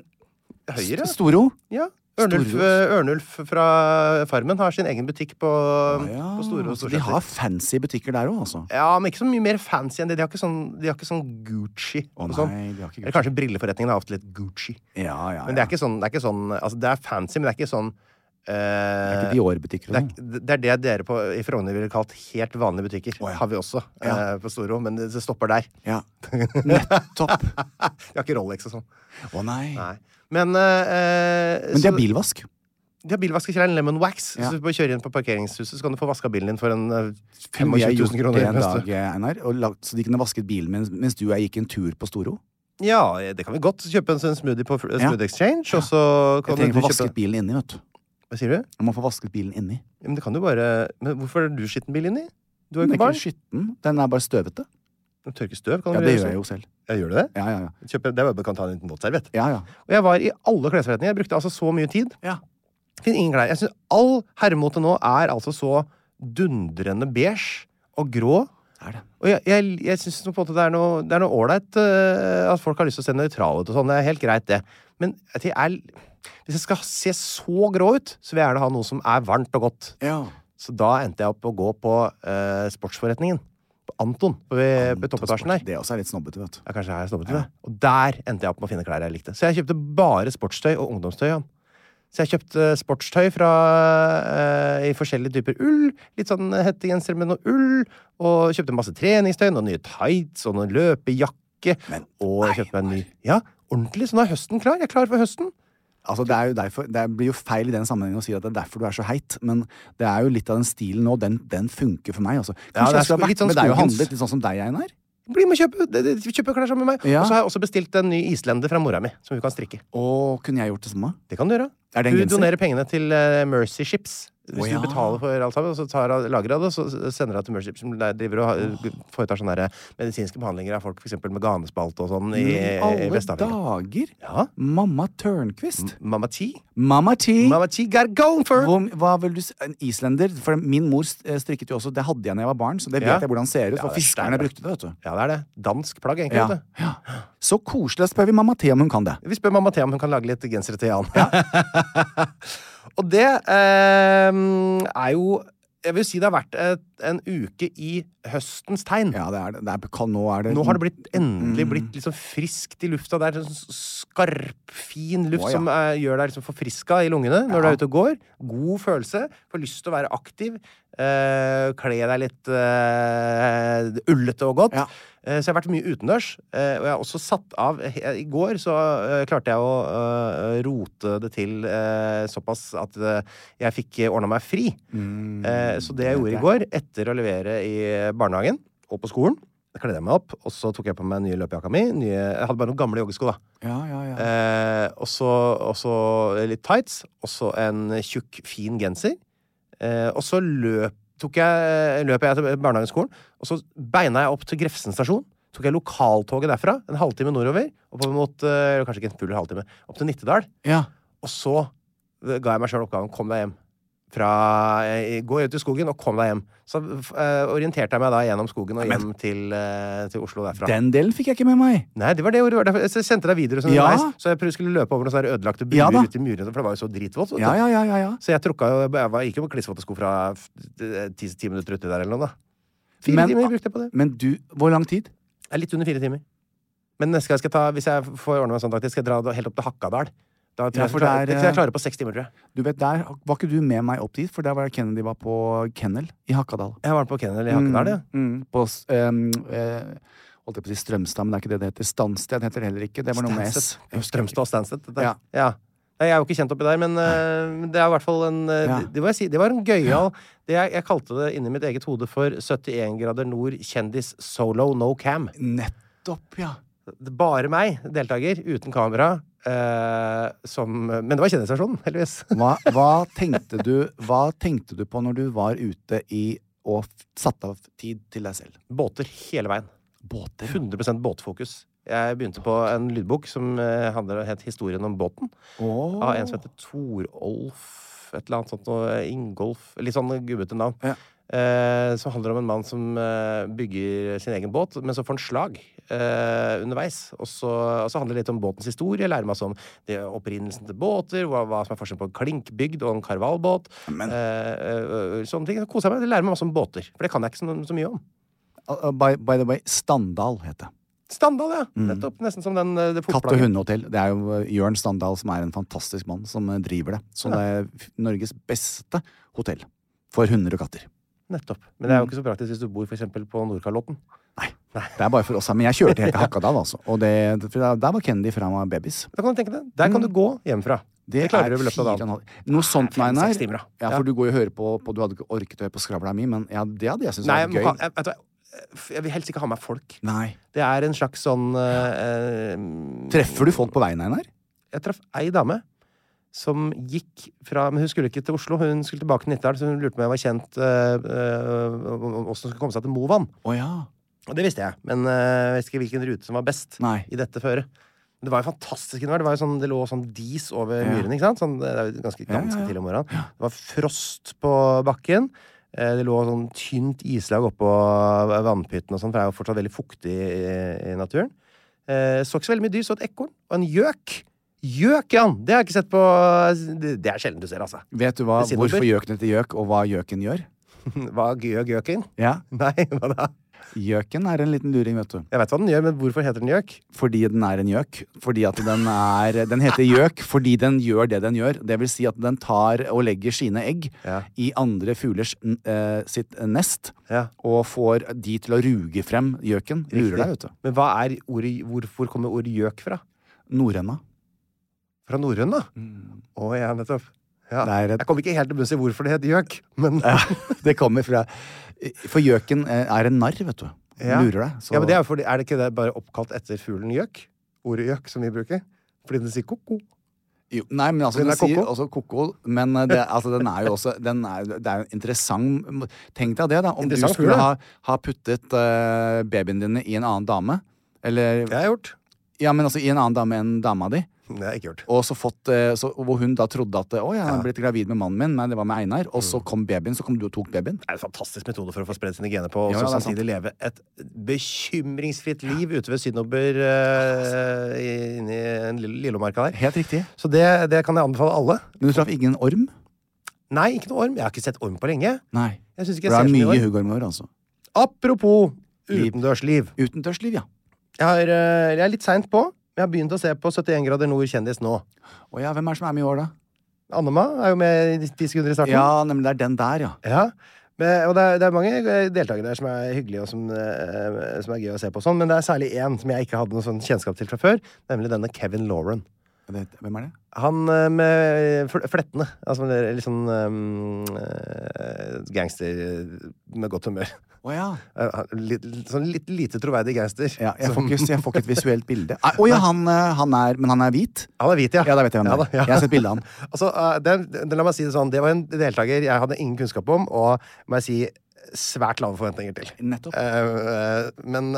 Høyre, ja. St- Storo. ja. Ørnulf, Storås. eh, Ørnulf fra Farmen har sin egen butikk på, på Store og Ah, så de Storsenter. har fancy butikker der òg, altså. Ja, men ikke så mye mer fancy enn det. De har ikke sånn, de har ikke sånn Gucci. Å, og nei, sånn. de har ikke Eller kanskje brilleforretningen har ofte litt Gucci. Ja, ja, ja. Men det er ikke sånn, det er ikke sånn altså Det er fancy, men det er ikke sånn eh, Ikke Dior-butikker. det, og sånn. er, det er det dere på, i Frogner ville kalt helt vanlige butikker. Å, ja. Har vi også Ja. eh, på Storo, men det, det stopper der. Ja. Nettopp. De har ikke Rolex og sånn. Å nei. Nei. Men, eh, Men de så- har bilvask. de har bilvaskekjelleren Lemon Wax. Ja. Så du bare kjører inn på parkeringshuset, så kan du få vaska bilen din for en eh, Kunne jeg 25 000 gjort kroner. det en mens du- dag, eh, Einar, og lagt, så de kunne vasket bilen mens, mens du og jeg gikk en tur på Storo? Ja, eh, det kan vi godt. Kjøpe en sånn smoothie på Fr- Ja. Smoothie Exchange, og så Jeg kan trenger du å få vasket kjøpe bilen inni, vet du. Hva sier du? Jeg må få vasket bilen inni. Ja, Men det kan du bare Men hvorfor er du skitten bil inni? Du har Den jo ikke er ikke barn. skitten. Den er bare støvete. Den tørker støv. Kan Ja, du det gjøre gjør sånn. jeg jo selv. Ja, gjør du det? Ja, ja, ja. Kjøpe, det er bare du kan ta en liten våtserviett. ja, ja. Og jeg var i alle klesforretninger. Jeg brukte altså så mye tid. Finn ingen klær. Jeg synes all herremote nå er altså så dundrende beige og grå. Er det. Og jeg, jeg, jeg syns på en måte det er noe det er noe ålreit øh, at folk har lyst til å se nøytrale ut og sånn. Det er helt greit, det. Men at jeg er, hvis jeg skal se så grå ut, så vil jeg gjerne ha noe som er varmt og godt. Ja. Så da endte jeg opp å gå på øh, sportsforretningen. På Anton på, ved- på toppetasjen der. Det også er litt snobbete, vet du. Ja, kanskje jeg har stoppet med det. Og der endte jeg opp med å finne klær jeg likte. Så jeg kjøpte bare sportstøy og ungdomstøy. Jan. Så jeg kjøpte sportstøy fra, eh, i forskjellige typer ull. Litt sånn hettegenser med noe ull. Og kjøpte masse treningstøy, noen nye tights og noen løpejakke. Men, og jeg kjøpte meg en ny Ja, ordentlig. Så nå er høsten klar. Jeg er klar for høsten. Altså, det, er jo derfor, det blir jo feil i den sammenhengen å si at det er derfor du er så heit, men det er jo litt av den stilen nå. Den, den funker for meg, altså. Ja, det er jeg skulle sko- vært litt sånn med deg og skogens- handlet, litt sånn som deg, Einar. Bli med og kjøpe, de- de- kjøpe klær sammen med meg. Ja. Og så har jeg også bestilt en ny islender fra mora mi, som hun kan strikke. Og kunne jeg gjort det samme? Det kan du gjøre. Er det en du genser? donerer pengene til eh, Mercy Ships. Hvis Å, ja. du betaler for alt sammen, og så tar, lagrer av det, og så s- sender du det til Mercy Ships, som der driver og har- foretar sånne der, eh, medisinske behandlinger av folk for eksempel med ganespalte og sånn i, i alle Vest-Afrika. dager! Ja. Mamma Tørnquist. Mamma T. Mamma T. Mamma T got it going for! Hvor, hva vil du si? En islender? For min mor eh, strikket jo også. Det hadde jeg da jeg var barn, så det vet Ja. jeg hvordan ser ut. Ja, det for er fiskerne stærkt. brukte det, vet du. Ja, det er det. Dansk plagg, egentlig. Ja. vet du. Ja. Så koselig. Da spør vi mamma T om hun kan det. Vi spør mamma Thea om hun kan lage litt gensere til Jan. og det eh, er jo Jeg vil si det har vært et, en uke i høstens tegn. Ja, det er det. det er, kan, nå er det Mm. Nå har det blitt, endelig blitt liksom friskt i lufta. Det er sånn s- skarp, fin luft Å, ja. som eh, gjør deg liksom forfriska i lungene når du er ute og går. God følelse. Får lyst til å være aktiv. Eh, kle deg litt eh, ullete og godt. Ja. Eh, så jeg har vært mye utendørs. Eh, og jeg har også satt av he- I går så eh, klarte jeg å eh, rote det til eh, såpass at eh, jeg fikk eh, ordna meg fri. Mm. Eh, så det jeg gjorde i går, etter å levere i eh, barnehagen og på skolen da kledde jeg meg opp, og så tok jeg på meg nye løpejakka mi. Nye, jeg hadde bare noen gamle joggesko, da. Ja, ja, ja. Eh, og så og så litt tights, og så en tjukk, fin genser. Eh, og så løp, tok jeg, eh, løp jeg til barnehageskolen, og så beina jeg opp til Grefsen stasjon. Tok jeg lokaltoget derfra, en halvtime nordover, oppover mot eh, Kanskje ikke en full halvtime, opp til Nittedal. ja. Og så eh, ga jeg meg sjøl oppgaven kom deg hjem. fra eh, Gå ut i skogen og kom deg hjem. Så eh, orienterte jeg meg da gjennom skogen og hjem til, eh, til Oslo derfra. Den delen fikk jeg ikke med meg. Nei, det var det ordet. Derfor- Jeg sendte deg videoer, sånn Ja. underveis, så jeg prøvde skulle løpe over noen sånne ødelagte buer Ja da. ut i murene, for det var jo så dritvått. vet du. Ja, ja, ja, ja, ja. Så jeg trukka jo Jeg var- gikk jo på klissvåte sko fra f- ti, ti minutter uti der eller noe, da. Fire Men- timer brukte jeg på det. Men du Hvor lang tid? Jeg er litt under fire timer. Men neste gang skal jeg ta, hvis jeg får ordne meg sånn, faktisk, skal jeg dra da helt opp til Hakkadal. Da tror Ja, jeg, for jeg, klarer, der, eh, jeg, jeg klarer på seks timer, tror jeg. Du vet, Der var ikke du med meg opp dit, for der var Kennedy var på kennel i Hakadal. Jeg var på kennel i Hakkadal, ja. Mm, på s- em, eh, Holdt jeg på å si Strømstad, men det er ikke det det heter. Stansted heter det heller ikke. Det var noe med S. Stansted. Strømstad og Stansted. dette. Ja. Ja. Nei, Jeg er jo ikke kjent oppi der, men eh, det er i hvert fall en eh, Ja. det, det må jeg si, det var en gøyal det jeg, jeg kalte det inni mitt eget hode for 71 grader nord kjendis solo no cam. Nettopp, ja. Det er Bare meg, deltaker, uten kamera. eh, som, men det var kjendisstasjonen, heldigvis. Hva, hva, tenkte du, hva tenkte du på når du var ute i og f- satte av tid til deg selv? Båter hele veien. Båter? 100 båtfokus. Jeg begynte på en lydbok som eh, handler het Historien om båten. Åh. Av en som heter Torolf et eller annet sånt noe eh, Ingolf Litt sånn gubbete navn. Ja. Eh, som handler om en mann som eh, bygger sin egen båt, men så får han slag eh, underveis. Og så, og så handler det litt om båtens historie. Lærer masse om det, opprinnelsen til båter, hva, hva som er forskjellen på en klinkbygd og en karvalbåt. Eh, eh, sånne ting. Så koser jeg meg. Det lærer meg masse om båter, for det kan jeg ikke så, så mye om. Uh, uh, By, by the way, Standal het det. Standard, ja! Nettopp. Nesten som den eh, det Mm. Katt- og fotbladet. hundehotell. Det er jo eh, Jørn Standal som er en fantastisk mann, som eh, driver det. Så det er f- Norges beste hotell for hunder og katter. Nettopp. Men Mm. det er jo ikke så praktisk hvis du bor for eksempel på Nordkalotten. Nei. Det er bare for oss her. Men jeg kjørte helt til Hakadal, altså. Og det, for der- der var Kennedy fra han var babys. Da kan du tenke deg. Der kan du gå hjemmefra. Det, klarer er du i løpet av fire og dagen. en halv- Noe sånt, nei, nei. Seks timer, da. Ja, Ja. for du går jo og hører på, på Du hadde ikke orket å høre på skravla mi, men ja, det hadde jeg syntes Nei, var jeg, må gøy. ha- jeg, vet du hva, jeg vil helst ikke ha med folk. Nei. Det er en slags sånn eh, eh, Treffer du folk på veien, Einar? Jeg traff ei dame som gikk fra Men hun skulle ikke til Oslo, hun skulle tilbake til Nittedal, så hun lurte på om jeg var kjent åssen hun skulle komme seg til Movan. Å ja. Og det visste jeg, men eh, jeg visste ikke hvilken rute som var best Nei. i dette føret. Men Det var jo fantastisk innvær. Det, var jo sånn, det lå sånn dis over Ja. myrene. ikke sant? Sånn, det er jo ganske, ja, ganske ja. tidlig om morgenen. Det var frost på bakken. Eh, Det lå sånn tynt islag oppå vannpytten, og sånn, for det er jo fortsatt veldig fuktig i, i naturen. Eh, Så ikke så veldig mye dyr. Så et ekorn og en gjøk. Gjøk, Jan! Det har jeg ikke sett på Det det er sjelden du ser, altså. Vet du hva, Ved siden av hvorfor bur. gjøken heter gjøk, og hva gjøken gjør? Hva gjør gjøken? Ja, Nei, hva da? Gjøken er en liten luring, vet du. Jeg veit hva den gjør, men hvorfor heter den gjøk? Fordi den er en gjøk. Fordi at den er Den heter gjøk fordi den gjør det den gjør. Det vil si at den tar og legger sine egg Ja. i andre fuglers n- eh, sitt nest. Ja. Og får de til å ruge frem gjøken. Lurer deg, vet du. Men hva er ordet, hvor, hvor kommer ordet gjøk fra? Norrøna. Fra norrøn, da? Å ja, nettopp. Ja. Mm. Det er et- Jeg kom ikke helt til bunns i hvorfor det het gjøk, men Det kommer fra For gjøken eh, er en narr, vet du. Ja. Lurer deg. så- Ja, men det er, jo fordi, er det ikke det bare oppkalt etter fuglen gjøk? Ordet gjøk, som vi bruker? Fordi den sier ko-ko. Jo, nei, men altså, Den den er sier koko. også koko, men eh, det, altså, den er jo også den er, Det er jo en interessant Tenk deg det, da. Om du Interessant skulle fugl, ha, ha puttet eh, babyen din i en annen dame. Eller Det har jeg gjort. Ja, men altså i en annen dame enn dama di. Det har jeg ikke gjort. Og så fått, eh, så, hvor hun da trodde at Å, jeg har blitt gravid med mannen min. Nei, det var med Einar. Og Mm. så kom babyen, så kom du og tok babyen. Det er en fantastisk metode for å få spredd sine gener på, og Ja, så ja, det er samtidig leve et bekymringsfritt liv ute ved Synnobber eh, i- inni en lille- Lillomarka der. Helt riktig. Så det, det kan jeg anbefale alle. Men du traff ingen orm? Nei, ikke noe orm. Jeg har ikke sett orm på lenge. Nei. Jeg synes ikke For jeg det ser så er mye mye orm. huggormer, altså. Apropos utendørsliv. Utendørsliv, ja. Jeg, har, eh, jeg er litt seint på. men Jeg har begynt å se på 71 grader nord kjendis nå. Å ja, hvem er det som er med i år, da? Annema er jo med i ti sekunder i starten. Ja, nemlig. Det er den der, ja. Ja. Men, og det er, det er mange eh, deltakere der som er hyggelige og som, eh, som er gøy å se på, og sånn, men det er særlig én som jeg ikke hadde noe sånn kjennskap til fra før, nemlig denne Kevin Lauren. Det, hvem er det? Han eh, med fl- flettene. Altså med det litt sånn eh, eh, gangster med godt humør. Å ja. Eh, han- Litt, sånn litt lite troverdig gangster. ja jeg, får Som- ikke, jeg får ikke et visuelt bilde. Nei, Å ja, han, eh, han er Men han er hvit? Han er hvit, ja. Ja, da vet jeg hvem Ja da, det er. ja. Jeg har sett bilde av han. Altså, eh, det, det, la meg si det sånn, det var en deltaker jeg hadde ingen kunnskap om, og må jeg si svært lave forventninger til. Nettopp. Eh, eh, men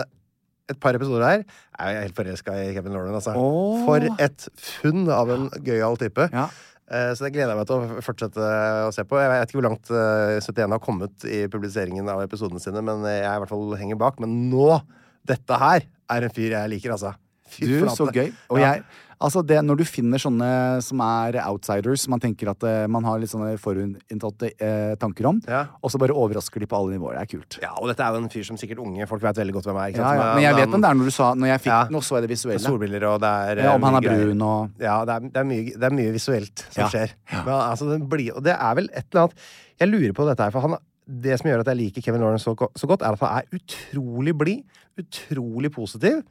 et par episoder her er jeg helt forelska i Kevin Lauren, altså. Åh. For et funn av en gøyal type. Ja. Eh, Så det gleder jeg meg til å fortsette å se på. Jeg vet ikke hvor langt eh, 71 har kommet i publiseringen av episodene sine, men jeg i hvert fall henger bak. Men nå! Dette her er en fyr jeg liker, altså. Fy Du, flate. så gøy. Og Ja. jeg, altså det, når du finner sånne som er outsiders, man tenker at eh, man har litt sånne forutinntatte eh, tanker om, Ja. og så bare overrasker de på alle nivåer. Det er kult. Ja, og dette er jo en fyr som sikkert unge folk vet veldig godt hvem er. Ikke Ja, ja. Men jeg vet hvem det er når du sa Når jeg fikk Ja. den, og så er det Med visuelle. solbriller, og det er Ja, om eh, han mye er greier. brun og Ja, det er, det, er mye, det er mye visuelt som Ja. skjer. Men, altså, den blir- og det er vel et eller annet Jeg lurer på dette her, for han det som gjør at jeg liker Kevin Lawrence så, go- så godt, er at han er utrolig blid, utrolig positiv.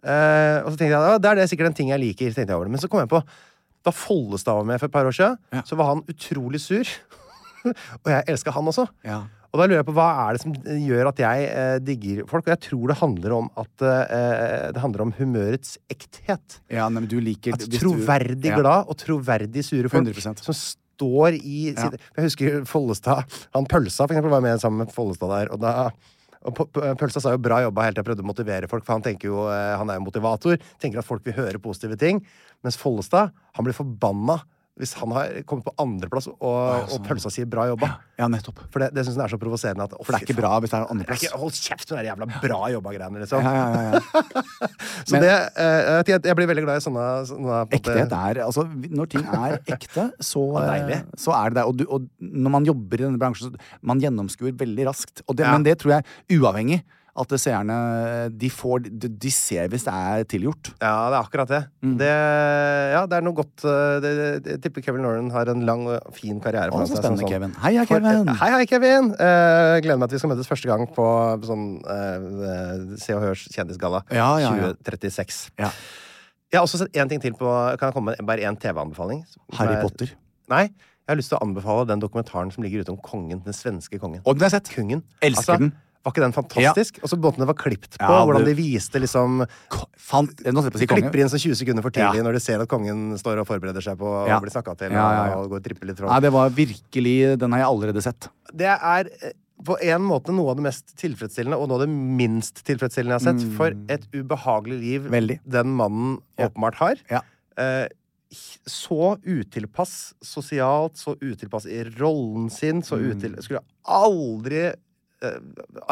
Eh, og så tenkte jeg, ja, det er det sikkert en ting jeg liker. tenkte jeg over det. Men så kom jeg på da Follestad var med for et par år siden, Ja. så var han utrolig sur. og jeg elska han også. Ja. Og da lurer jeg på hva er det som gjør at jeg eh, digger folk? Og jeg tror det handler om at eh, det handler om humørets ekthet. Ja, nei, men du liker At hvis du- troverdig ja. glad og troverdig sure folk 100%. som står i sitt, Jeg husker Follestad. Han Pølsa for eksempel, var med sammen med Follestad der. og da og P- P- Pølsa sa jo bra jobba helt til jeg prøvde å motivere folk, for han, tenker jo, eh, han er jo motivator. Tenker at folk vil høre positive ting. Mens Follestad han blir forbanna hvis han har kommet på andreplass og, og Pølsa sier bra jobba. sånn. Ja, nettopp. For det, det syns hun er så provoserende. At, å, For det er fy ikke bra hvis det er andreplass. det er ikke- Hold kjeft med de jævla bra jobba-greiene, liksom. Ja, ja, ja, ja. Så det, eh, jeg, vet ikke, jeg blir veldig glad i sånne, sånne på en måte- Ekthet er Altså, vi- når ting er ekte, så, Ja, eh, deilig. så er det det. Og, du, og når man jobber i denne bransjen, så man gjennomskuer veldig raskt. Og det, Ja. Men det tror jeg, uavhengig, at det seerne de, får, de, de ser hvis det er tilgjort. Ja, det er akkurat det. Mm. det. Ja, det er noe godt eh, det, det, Jeg tipper Kevin Lauren har en lang og fin karriere Å, foran så seg. spennende, som sånn- Kevin. Hei, hei, Kevin. For, hei, hei, Kevin. Eh, gleder meg til vi skal møtes første gang på sånn eh, Se og Hørs kjendisgalla Ja, ja, ja. 2036. Ja. Jeg har også sett én ting til på Kan jeg komme med bare én TV-anbefaling? Som Harry er- Potter. Nei. Jeg har lyst til å anbefale den dokumentaren som ligger ute om kongen. Den svenske kongen. Og den har jeg sett. Kungen. Altså, Elsker den. Var ikke den fantastisk? Og så måten det var klipt på, Ja, hvordan det- de viste liksom Ko- Fant, nå slipper jeg å si konge. Klipper inn sånn 20 sekunder for tidlig Ja. når de ser at kongen står og forbereder seg på å Ja. bli snakka til. Ja, ja, ja. Og går trippel i tråd. Nei, det var virkelig Den har jeg allerede sett. Det er eh, på en måte noe av det mest tilfredsstillende, og noe av det minst tilfredsstillende jeg har sett. For et ubehagelig liv Mm. Veldig. den mannen Ja. åpenbart har. Ja. Eh, så utilpass sosialt, så utilpass i rollen sin, så Mm. util... Skulle aldri eh,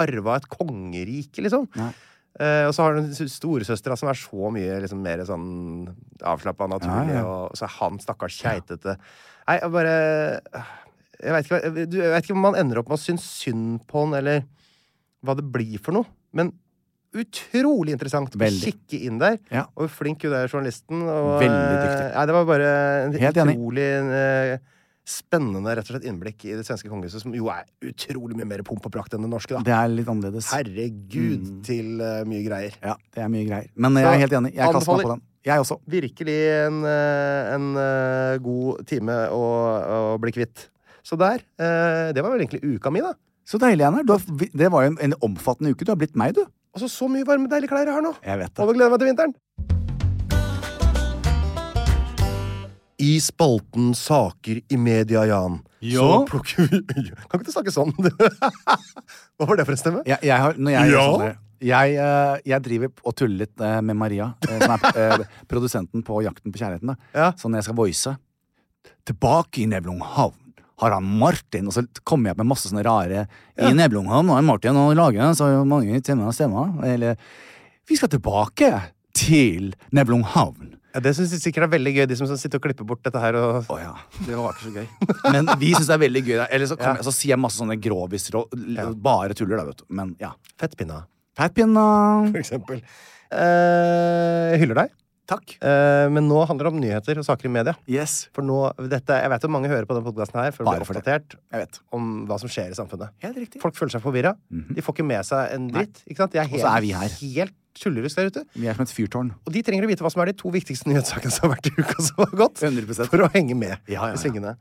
arva et kongerike, liksom. Nei. Eh, og så har du storesøstera som er så mye liksom, mer sånn avslappa og naturlig, Ja, ja. og så er han stakkars keitete. Nei, jeg bare jeg vet, ikke, hva- du- jeg vet ikke om man ender opp med å synes synd på han, eller hva det blir for noe. Men utrolig interessant å Veldig. kikke inn der. Ja. Og hvor flink hun er, journalisten. Og, Veldig dyktig. eh, Nei, det var bare en Helt enig. utrolig eh, spennende rett og slett innblikk i det svenske kongehuset, som jo er utrolig mye mer pomp og prakt enn det norske, da. Det Mm. er litt annerledes. Herregud, til eh, mye greier. Ja, det er mye greier. Men eh, Så, jeg er helt enig. Jeg kaster meg anbefaler- på den. Jeg også. Virkelig en, eh, en eh, god time å, å bli kvitt. Så der. eh, Det var vel egentlig uka mi, da. Så deilig, Einar. Du har- vi- Det var jo en, en omfattende uke. Du har blitt meg, du. Og Altså, så så mye varme, deilige klær jeg har nå. Jeg vet det. Og nå gleder jeg meg til vinteren. I spalten Saker i media, Jan, så Ja. plukker vi Kan ikke du snakke sånn? Hva var det for en stemme? Jeg, jeg har, når jeg, gjør Ja? sånn der, jeg, eh, jeg driver og tuller litt eh, med Maria, eh, som er eh, produsenten på Jakten på kjærligheten. Da. Ja. Så når jeg skal voice Tilbake i Nevlunghavn har han Martin, og så kommer jeg opp med masse sånne rare I Nevlunghavn har Martin og laget så mange timer og stemmer. Eller Vi skal tilbake til Nevlunghavn. Ja, det syns jeg sikkert er veldig gøy, de som sitter og klipper bort dette her. Og... Å ja. Det var ikke så gøy. Men vi syns det er veldig gøy. da. Eller så, kommer jeg, så sier jeg masse sånne groviser og l- bare tuller, da, vet du. Men ja. Fettpinna, Fettpinna. for eksempel. Eh, jeg hyller deg. Takk. Eh, men nå handler det om nyheter og saker i media. Yes. For nå, dette, Jeg vet jo mange hører på denne podkasten her for å Bare bli for det. oppdatert Jeg vet. om hva som skjer i samfunnet. Helt riktig. Folk føler seg forvirra. De får ikke med seg en dritt. Ikke sant? De er Mhm. Og helt, så er vi her. helt tullerus der ute. Vi er som et fyrtårn. Og de trenger å vite hva som er de to viktigste nyhetssakene som har vært i uka som har gått. 100%. For å henge med Ja, ja, ja. i svingene.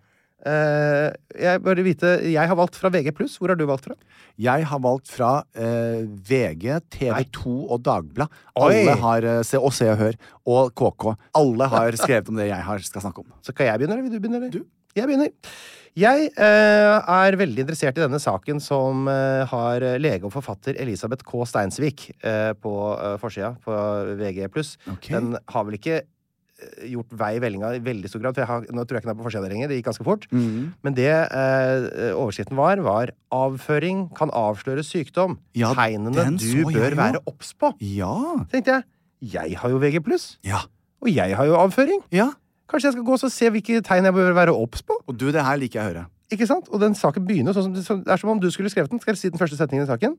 Eh, jeg bør vite Jeg har valgt fra VG+. Hvor har du valgt fra? Jeg har valgt fra eh, VG, TV 2 og Dagbladet. Oi! Alle har eh, se, Og Se og Hør. Og KK. Alle har skrevet om det jeg har, skal snakke om. Så kan jeg begynne, eller vil du begynne? Eller? Jeg begynner. Jeg eh, er veldig interessert i denne saken som eh, har lege og forfatter Elisabeth K. Steinsvik eh, på eh, forsida på VG+. Ok. Den har vel ikke eh, gjort vei i vellinga i veldig stor grad. For jeg har, nå tror jeg ikke den er på forsida lenger. Det gikk ganske fort. Men det eh, overskriften var, var 'Avføring kan avsløre sykdom'. Ja, Tegnene den du så jeg bør jo. være obs på. Ja. Tenkte jeg. Jeg har jo VG+, Ja. og jeg har jo avføring. ja. Kanskje jeg skal gå og så se hvilke tegn jeg bør være obs på? Og du, det her liker jeg å høre. Ikke sant? Og den saken begynner sånn som så- Det er som om du skulle skrevet den. Skal jeg si den første setningen i saken?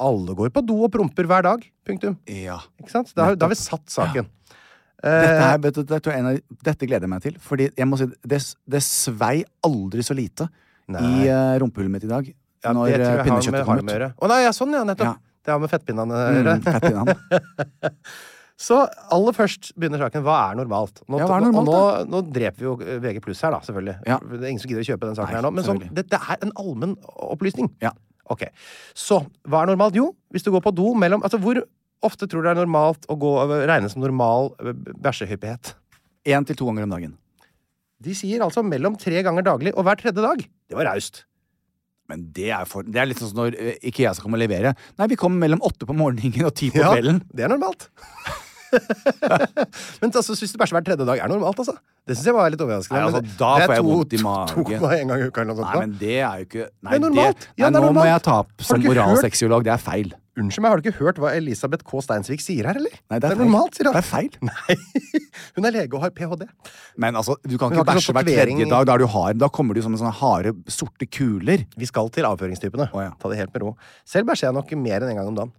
Alle går på do og promper hver dag. Punktum. Ja. Ikke sant? Da, har- da har vi satt saken. Dette, Eh. her, vet du, dette, er en av, dette gleder jeg meg til. Fordi jeg må si, det, det svei aldri så lite i eh, rumpehullet mitt i dag. det når tror eh, jeg har med pinnekjøttet kom harm å ut. gjøre. Å nei, ja, sånn ja, nettopp. Ja. Det har med fettpinnene å gjøre. Mm, fettpinnen. Så aller først begynner saken. Hva er normalt? Nå, Ja, hva er normalt, og nå, nå dreper vi jo eh, VG pluss her, da, selvfølgelig. Ja. Det er ingen som gidder å kjøpe den saken Nei, her nå. Men sånn, selvfølgelig. dette er en allmenn opplysning. Ja. Ok. Så hva er normalt? Jo, hvis du går på do mellom Altså, hvor ofte tror du det er normalt å gå regnes som normal eh, bæsjehyppighet? Én til to ganger om dagen. De sier altså mellom tre ganger daglig og hver tredje dag. Det var raust. Men det er, for, det er litt sånn som når eh, ikke jeg skal komme og levere. Nei, vi kommer mellom åtte på morgenen og ti på kvelden. det er normalt. Men altså, hvis du bæsjer hver tredje dag, er normalt, altså. Det syns jeg var litt overraskende. Nei, men altså, det- da det er får jeg to- vondt i to- magen. To en gang i uka eller noe sånt. Nei, da. men det er jo ikke Nei, Det er normalt. Ja, det Nei, er nå må normalt. jeg ta opp Har du som ikke hørt? moralsexiolog. Det er feil. Unnskyld meg, har du ikke hørt hva Elisabeth K. Steinsvik sier her, eller? Nei, det er, feil. normalt, sier han. Det er feil. Nei. Hun er lege og har ph.d. Men altså, du kan Men ikke har ikke bæsje sånn hver tredje tatovering- dag. Da, er du hard. da kommer du som en sånn harde, sorte kuler. Vi skal til avføringstypene. Å, ja. Ta det helt med ro. Selv bæsjer jeg nok mer enn én en gang om dagen.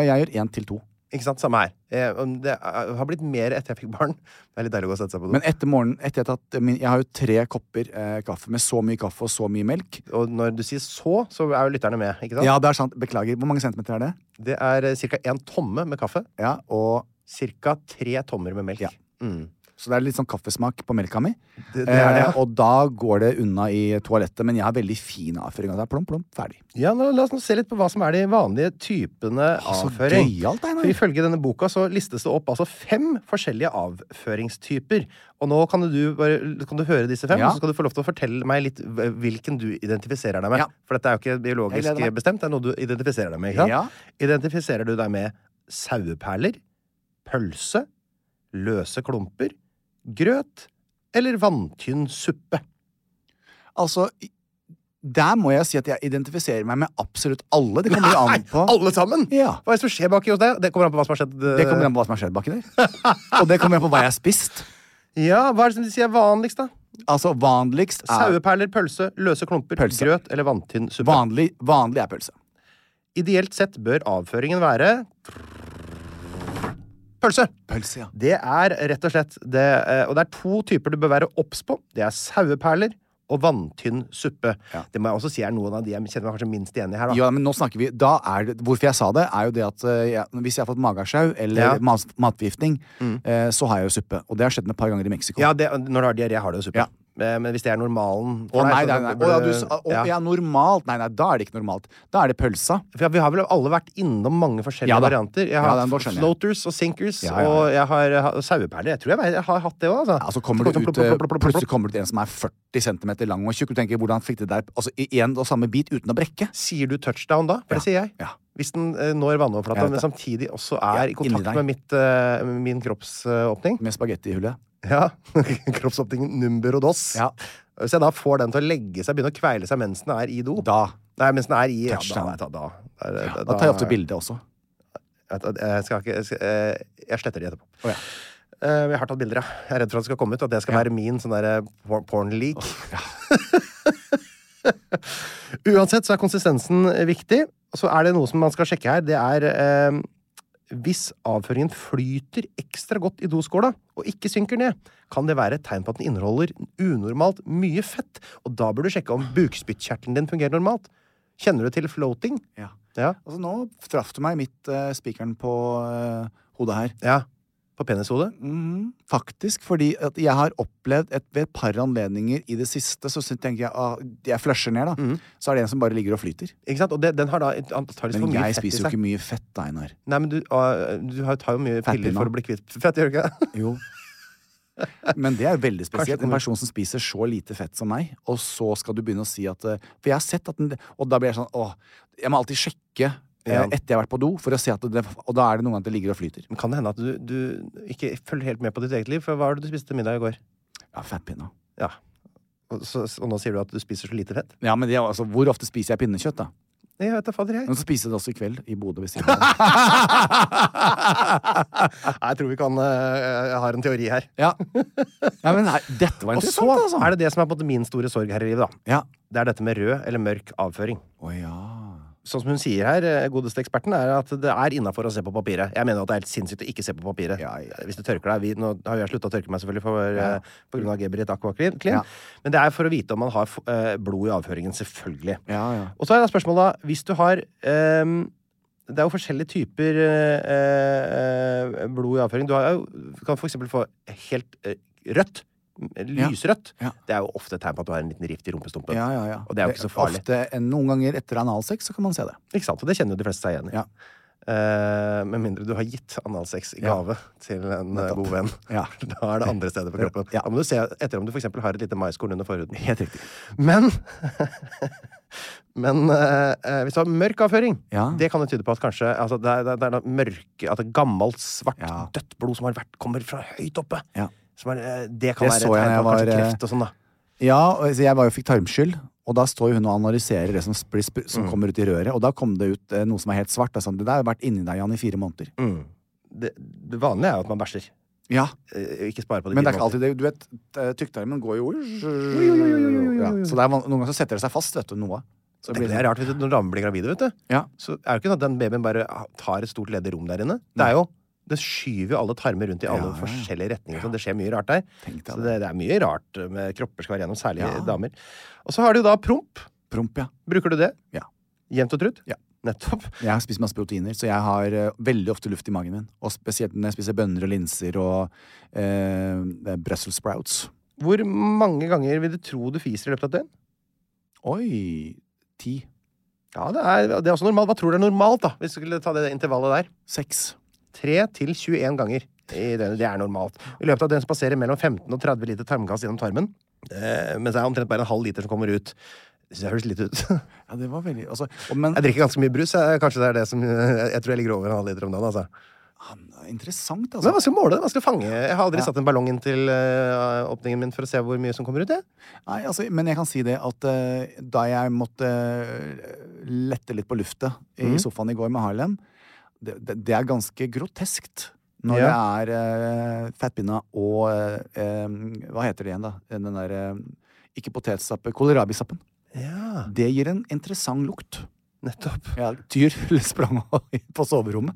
Ja, jeg gjør én til to. Ikke sant? Samme her. Eh, om Det eh, har blitt mer etter jeg fikk barn. Det er litt deilig å gå og sette seg på do. Men etter morgenen etter jeg, har tatt, min, jeg har jo tre kopper eh, kaffe med så mye kaffe og så mye melk. Og når du sier så, så er jo lytterne med. ikke sant? Ja, det er sant. Beklager. Hvor mange centimeter er det? Det er ca. én tomme med kaffe. Ja, og Ca. tre tommer med melk. Ja. Mm. Så det er litt sånn kaffesmak på melka mi. Det- det er det, ja. eh, og da går det unna i toalettet, men jeg har veldig fin avføring. Og det er plom, plom, ferdig. Ja, nå, La oss nå se litt på hva som er de vanlige typene så avføring. gøyalt, Altså, Einar. For Ifølge denne boka så listes det opp altså fem forskjellige avføringstyper. Og nå kan du, bare, kan du høre disse fem, Ja. og så skal du få lov til å fortelle meg litt hv- hvilken du identifiserer deg med. Ja. For dette er jo ikke Jeg biologisk gleder meg. bestemt, det er noe du identifiserer deg med. Ikke sant? Ja. Identifiserer du deg med saueperler, pølse, løse klumper, grøt eller vanntynn suppe? Altså, i- der må jeg si at jeg identifiserer meg med absolutt alle. Det kommer jo an på alle sammen! Ja. Hva er det som skjer baki hos deg? Det kommer an på hva som har skjedd. eh, Det kommer an på hva som har skjedd baki der. Og det kommer an på hva jeg har spist. eh, Ja, Hva er det som de sier er vanligst, da? Altså, vanligst er Saueperler, pølse, løse klumper, Pølse. grøt eller vanntynn suppe. Vanlig, vanlig er pølse. Ideelt sett bør avføringen være Pølse! Pølse, ja. Det er rett og slett det eh, Og det er to typer du bør være obs på. Det er saueperler og vanntynn suppe. Ja. Det må jeg også si er noen av de jeg kjenner meg kanskje minst igjen i her. da. Ja, men nå snakker vi da er det, Hvorfor jeg sa det, er jo det at eh, jeg, hvis jeg har fått magesjau eller Ja. Mm. mas- matforgiftning, eh, så har jeg jo suppe. Og det har skjedd meg et par ganger i Mexico. Ja, det, når du har diaré, har du jo suppe. Ja. Eh, Men hvis det er normalen Å for deg, så- nei, nei, så nei. Å, burde ja, du- du, sa- å, ja. ja, normalt. Nei, nei, da er det ikke normalt. Da er det pølsa. For Vi har vel alle vært innom mange forskjellige Ja da. varianter. Jeg Ja, har da, hatt da skjønner jeg. floaters og sinkers, Ja, ja, ja. og jeg har hatt saueperler. Jeg tror jeg, jeg har hatt det òg, altså. Ja, så kommer du Plopp, ut, plopp, eh, plopp, plopp, plopp, plutselig plopp. kommer du til en som er 40 cm lang og tjukk. Du tenker, hvordan fikk det der altså, i en og samme bit uten å brekke? Sier du touchdown da? For det sier jeg. Ja. Hvis den eh, når Jeg vannoverflata, vet men det. samtidig også er Ja, i kontakt inni deg. med mitt, eh, min kroppsåpning. Med spagetti i hullet. Ja. Kroppsåpningen number og dos. Ja. Hvis jeg da får den til å legge seg, begynne å kveile seg mens den er i do Da, Nei, mens den er i ja, da, Touchdown. da, da, da, da, da tar jeg ofte bilde også. Jeg, jeg, skal ikke, jeg, skal, eh, jeg sletter de etterpå. Å, ja. Eh, Jeg har tatt bilder, ja. Jeg er redd for at det skal komme ut. At det skal være min sånn derre por- porn-leak. Uansett så er konsistensen viktig. Og så er det noe som man skal sjekke her. Det er eh, hvis avføringen flyter ekstra godt i doskåla og ikke synker ned, kan det være et tegn på at den inneholder unormalt mye fett. Og da bør du sjekke om bukspyttkjertelen din fungerer normalt. Kjenner du til floating? Ja. Ja. Altså, nå traff du meg midt eh, spikeren på eh, hodet her. ja. På penishodet? Mhm. Faktisk, fordi at jeg har opplevd et, ved et par anledninger i det siste, så syn- tenker jeg at jeg flusher ned, da. Så er Mm-hmm. det en som bare ligger og flyter. Ikke sant? Og det, den har da antakeligvis for Men mye jeg fett i spiser jo seg. ikke mye fett, da, Einar. Nei, men du, øh, du har- tar jo mye piller Fettpinna. for å bli kvitt fett, gjør du ikke det? Jo. Men det er jo veldig spesielt. Kanskje En person som spiser så lite fett som meg, og så skal du begynne å si at eh, For jeg har sett at den Og da blir jeg sånn åh, Jeg må alltid sjekke eh, Ja. etter jeg har vært på do, for å se at det, og da er det noen ganger at det ligger og flyter. Men kan det hende at du, du ikke følger helt med på ditt eget liv? For hva var det du spiste til middag i går? Ja, fettpinna. Ja. Og, så, og nå sier du at du spiser så lite fett? Ja, men det, er altså, hvor ofte spiser jeg pinnekjøtt, da? Jeg vet da fader, jeg. Men så spiser jeg det også i kveld, i Bodø ved siden av. Nei, jeg tror vi kan eh, Jeg har en teori her. Ja. ja, men nei, dette var Og så interessant, altså. er det det som er på en måte min store sorg her i livet, da. Ja. Det er dette med rød eller mørk avføring. Å ja. Sånn som hun sier her, eh, godeste eksperten, er at det er innafor å se på papiret. Jeg mener at det er helt sinnssykt å ikke se på papiret. Ja, ja. Hvis du tørker deg vi, Nå har jeg slutta å tørke meg, selvfølgelig, for, eh, på grunn av Geberit Aquaclean. Ja. Men det er for å vite om man har f- eh, blod i avføringen, selvfølgelig. Ja, ja. Og så er da spørsmålet, da, hvis du har ehm, det er jo forskjellige typer eh, eh, blod i avføring. Du har, jo- kan for eksempel få helt eh, rødt. Lysrødt. Ja. Det er jo ofte et tegn på at du har en liten rift i rumpestumpen. Ja, ja, ja. Og det er jo ikke så farlig. Ofte, eh, noen ganger etter analsex så kan man se det. Ikke sant? Og det kjenner jo de fleste seg igjen i. Ja. Eh, med mindre du har gitt analsex i Ja. gave til en eh, god venn. Ja. Da er det andre steder på kroppen. Ja. Da må du se etter om du for eksempel har et lite maiskorn under forhuden. Helt riktig. Men Men eh, eh, hvis du har mørk avføring, Ja. det kan jo tyde på at kanskje altså, det, er, det, er, det er noe mørke At det er gammelt, svart, Ja. dødt blod som har vært, kommer fra høyt oppe. Ja. Som er, eh, det kan Det så være et tegn jeg på når jeg kanskje var, eh, kreft og sånn, da. Ja, og så jeg var jo fikk tarmskyld, og da står jo hun og analyserer det som, blir sp- som kommer ut i røret, og da kom det ut eh, noe som er helt svart. Da sa hun, det der har vært inni deg, Jan, i fire måneder. Mm. Det, det vanlige er jo at man bæsjer. Ja, Eh, Ikke spare på det. men det fire er måneder. ikke alltid det. Du vet, eh, tykktarmen går jo oi, ja. Så det er, van- noen ganger så setter det seg fast, vet du, noe. Så Det blir er rart vet du, når damer blir gravide, vet du. Ja. Så er det ikke sånn at den babyen bare ah, tar et stort ledig rom der inne. Det er jo det skyver jo alle tarmer rundt i alle Ja, ja, ja. forskjellige retninger. Så det skjer mye rart der. Tenk deg Så det, det er mye rart med kropper skal være gjennom, særlig Ja. damer. Og så har du jo da promp. Promp, ja. Bruker du det? Ja. Jevnt og trutt? Ja. Nettopp. Jeg har spist masse proteiner, så jeg har eh, veldig ofte luft i magen min. Og spesielt når jeg spiser bønner og linser og eh, Brussels sprouts. Hvor mange ganger vil du tro du fiser i løpet av et døgn? Oi! Ti. Ja, det er, det er også normalt. Hva tror du er normalt, da? Hvis du skulle ta det intervallet der. Seks. 3 til 21 ganger i døgnet. Det er normalt. I løpet av døgnet så passerer mellom 15 og 30 liter tarmgass gjennom tarmen. Eh, mens det er omtrent bare en halv liter som kommer ut. Det høres litt ut. Jeg Ja, det var veldig altså, og- Men drikker ganske mye brus. Jeg, kanskje det er det som eh, Jeg tror jeg ligger over en halv liter om dagen. altså. interessant, Men det altså. er vanskelig å måle det. vanskelig å fange. Jeg har aldri Ja. satt en ballong inn til eh, åpningen min for å se hvor mye som kommer ut. jeg. Nei, altså, men jeg kan si det at eh, da jeg måtte eh, lette litt på luftet i sofaen i går med Harlem, det, det, det er ganske groteskt. Når Ja. det er eh, fettpinna og eh, em, Hva heter det igjen, da? Den der eh, Ikke potetstappe, kålrabistappen. Ja, Det gir en interessant lukt. nettopp. Ja, Tyr sprang på soverommet.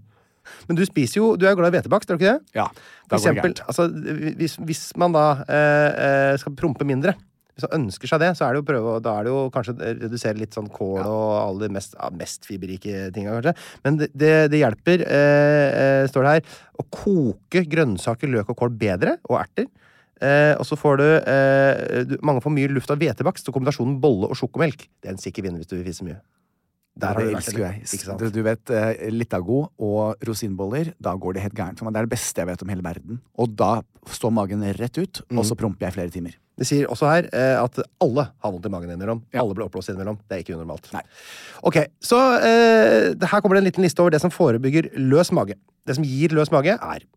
Men du spiser jo Du er jo glad i hvetebakst, er du ikke det? Ja, For da går det eksempel, gærent. altså, hvis, hvis man da eh, eh, skal prompe mindre hvis man ønsker seg det, så er det jo å prøve, å- da er det jo kanskje å redusere litt sånn kål og alle de mest, ja, mest fiberrike tinga, kanskje. Men det, det, det hjelper, eh, eh, står det her, å koke grønnsaker, løk og kål bedre, og erter. Eh, og så får du, eh, du Mange får mye luft av hvetebakst, og kombinasjonen bolle og sjokomelk. Det er en sikker vinner hvis du vil fise mye. Der har det du vært, elsker eller? jeg. Ikke sant? Du, du vet, eh, Litago og rosinboller, da går det helt gærent for meg. Det er det beste jeg vet om hele verden. Og da står magen rett ut, og så promper jeg i flere timer. Det sier også her eh, at alle har vondt i magen innimellom. Alle blir oppblåst innimellom. Det er ikke unormalt. Nei. Ok, så eh, det- Her kommer det en liten liste over det som forebygger løs mage. Det som gir løs mage, er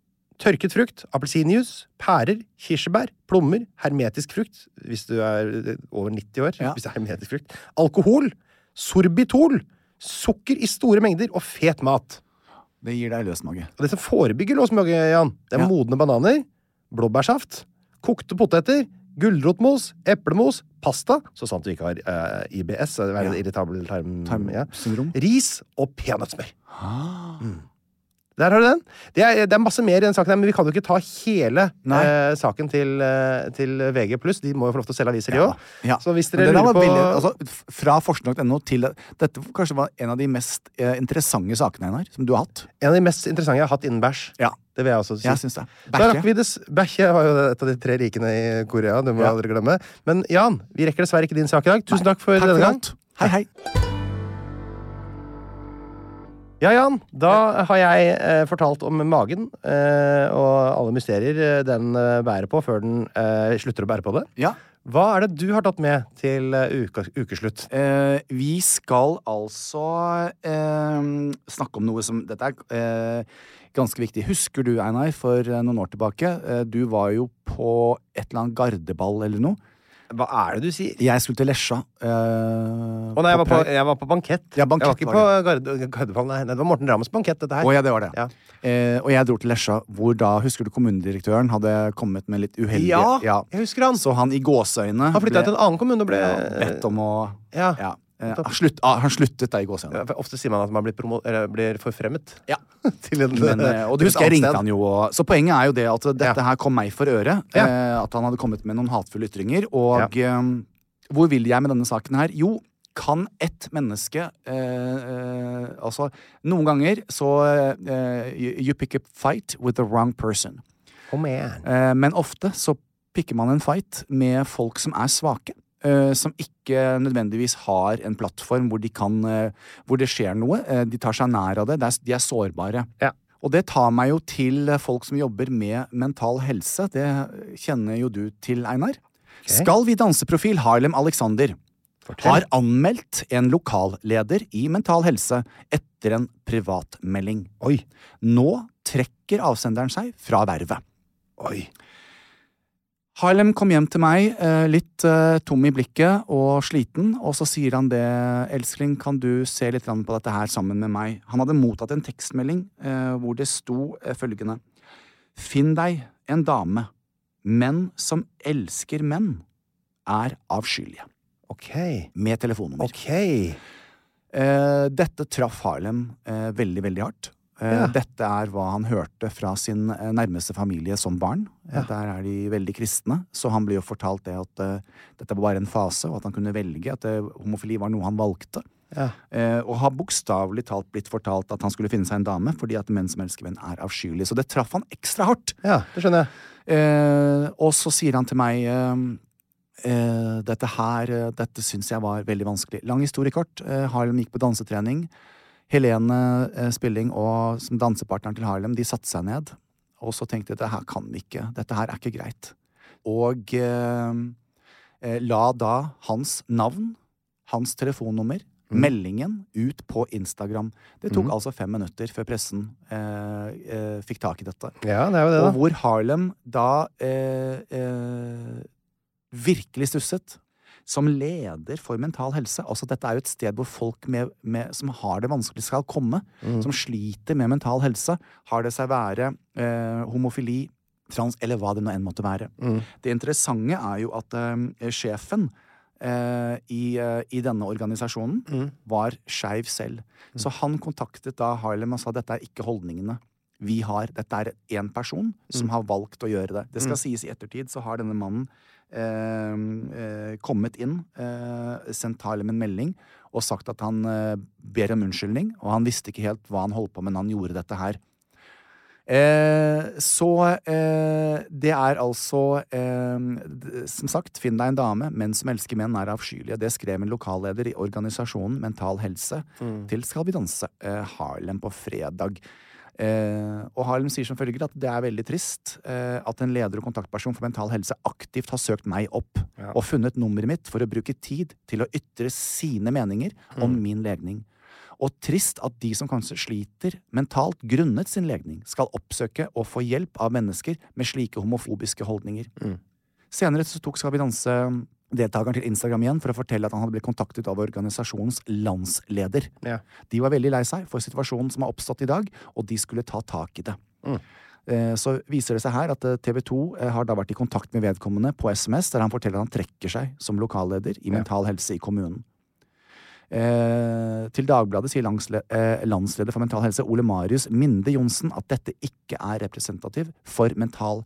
tørket frukt, appelsinjuice, pærer, kirsebær, plommer, hermetisk frukt hvis du er eh, over 90 år, Ja. hvis det er hermetisk frukt, alkohol, sorbitol, sukker i store mengder og fet mat. Det gir deg løs mage. Og det som forebygger låsmage, Jan, det er Ja. modne bananer, blåbærsaft, kokte poteter, gulrotmos, eplemos, pasta, så sant du ikke har eh, IBS, det er Ja. en irritabel tarm, Tarm- ja. syndrom. ris og peanøttsmør. Ah, Der har du den. Det er, det er masse mer i den saken, her, men vi kan jo ikke ta hele Nei. eh, saken til, eh, til VG+. De må jo få lov til å selge aviser, de òg. Ja. Så hvis Men dere det der var lurer på veldig- altså, f- Fra forskning.no til Dette kanskje var en av de mest eh, interessante sakene Einar, som du har hatt. En av de mest interessante jeg har hatt innen bæsj. Ja. Det vil jeg også si. Jeg syns det. Da Bæsje. rakk vi det. s- Bæsje var jo et av de tre rikene i Korea. Det må jeg Ja. aldri glemme. Men Jan, vi rekker dessverre ikke din sak i dag. Tusen takk for denne gang. alt. Hei, hei. Ja, Jan, da har jeg eh, fortalt om magen eh, og alle mysterier eh, den eh, bærer på før den eh, slutter å bære på det. Ja. Hva er det du har tatt med til eh, uka, ukeslutt? Eh, vi skal altså eh, snakke om noe som Dette er eh, ganske viktig. Husker du, Einar, for eh, noen år tilbake? Eh, du var jo på et eller annet gardeball eller noe. Hva er det du sier? Jeg skulle til Lesja. Eh, Å nei, jeg var, på, Prag. jeg var på bankett. Ja, bankett jeg var ikke på var Garde- Gardermoen, nei. Nei, Det var Morten Ramms bankett, dette her. Å ja, det var det. Ja. Eh, og jeg dro til Lesja, hvor da, husker du, kommunedirektøren hadde kommet med litt uheldige Ja, jeg husker han. Så han i gåseøyne Han flytta ble- til en annen kommune og ble ja, bedt om å Ja. Eh, han slutt, ah, han sluttet da i gåseøynene. For Ofte sier man at man blir, promo eller blir forfremmet. Ja. Til en, Men, eh, og du til et husker jeg annet ringte sted. han jo og- Så poenget er jo det at dette Ja. her kom meg for øre. Ja. Eh, at han hadde kommet med noen hatefulle ytringer. Og eh, hvor vil jeg med denne saken her? Jo, kan ett menneske eh, eh, Altså, noen ganger så eh, you, you pick a fight with the wrong person. Kom igjen. Eh, men ofte så pikker man en fight med folk som er svake. eh, som ikke nødvendigvis har en plattform hvor, de kan, eh, hvor det skjer noe. eh, de tar seg nær av det. det er, de er sårbare. Ja. Og det tar meg jo til eh, folk som jobber med mental helse. Det kjenner jo du til, Einar. Skal vi danseprofil Harlem Alexander har anmeldt en lokalleder i Mental Helse etter en privatmelding. Oi. Nå trekker avsenderen seg fra vervet. Oi. Harlem kom hjem til meg, eh, litt eh, tom i blikket og sliten, og så sier han det, elskling, kan du se litt grann på dette her sammen med meg? Han hadde mottatt en tekstmelding eh, hvor det sto eh, følgende. Finn deg en dame. Menn som elsker menn, er avskyelige. Ok. Med telefonnummer. Ok. Eh, dette traff Harlem eh, veldig, veldig hardt. Eh, Ja. Dette er hva han hørte fra sin eh, nærmeste familie som barn. Eh, Der er de veldig kristne, så han ble jo fortalt det at eh, dette var bare en fase, og at han kunne velge, at eh, homofili var noe han valgte. Ja. Eh, og har bokstavelig talt blitt fortalt at han skulle finne seg en dame, fordi at menn som elsker menn er avskyelige. Så det traff han ekstra hardt. ja, det skjønner jeg. Eh, og så sier han til meg eh, eh, Dette her, eh, dette syns jeg var veldig vanskelig. Lang historie kort. Eh, Harlem gikk på dansetrening. Helene eh, Spilling og som dansepartneren til Harlem, de satte seg ned. Og så tenkte jeg dette her kan vi ikke. Dette her er ikke greit. Og eh, eh, la da hans navn, hans telefonnummer, meldingen ut på Instagram. Det tok altså fem minutter før pressen eh, eh, fikk tak i dette. Ja, det er jo det, Og da. hvor Harlem da eh, eh, virkelig stusset. Som leder for mental helse. Altså Dette er jo et sted hvor folk med, med, som har det vanskelig, skal komme. Mm. Som sliter med mental helse. Har det seg være eh, homofili, trans, eller hva det nå enn måtte være. Mm. Det interessante er jo at eh, sjefen eh, i, eh, i denne organisasjonen var skeiv selv. Så han kontaktet da Harlem og sa dette er ikke holdningene vi har. Dette er én person som har valgt å gjøre det. Det skal sies i ettertid, så har denne mannen eh, eh, kommet inn, eh, sendt Harlem en melding og sagt at han eh, ber om unnskyldning, og han visste ikke helt hva han holdt på med, men han gjorde dette her. Eh, så eh, det er altså eh, d- Som sagt, finn deg en dame. Menn som elsker menn, er avskyelige. Det skrev en lokalleder i organisasjonen Mental Helse til Skal vi danse eh, Harlem på fredag. Eh, og Harlem sier som følger at det er veldig trist eh, at en leder og kontaktperson for Mental Helse aktivt har søkt meg opp og funnet nummeret mitt for å bruke tid til å ytre sine meninger om min legning og trist at de som kanskje sliter mentalt grunnet sin legning, skal oppsøke og få hjelp av mennesker med slike homofobiske holdninger. Senere så tok Skal vi danse deltakeren til Instagram igjen for å fortelle at han hadde blitt kontaktet av organisasjonens landsleder. Ja. De var veldig lei seg for situasjonen som har oppstått i dag, og de skulle ta tak i det. Eh, Så viser det seg her at eh, TV 2 har da vært i kontakt med vedkommende på SMS, der han forteller at han trekker seg som lokalleder i Mental Helse i kommunen. Eh, til Dagbladet sier langsle, eh, landsleder for Mental Helse Ole Marius Minde Johnsen at dette ikke er representativ for mental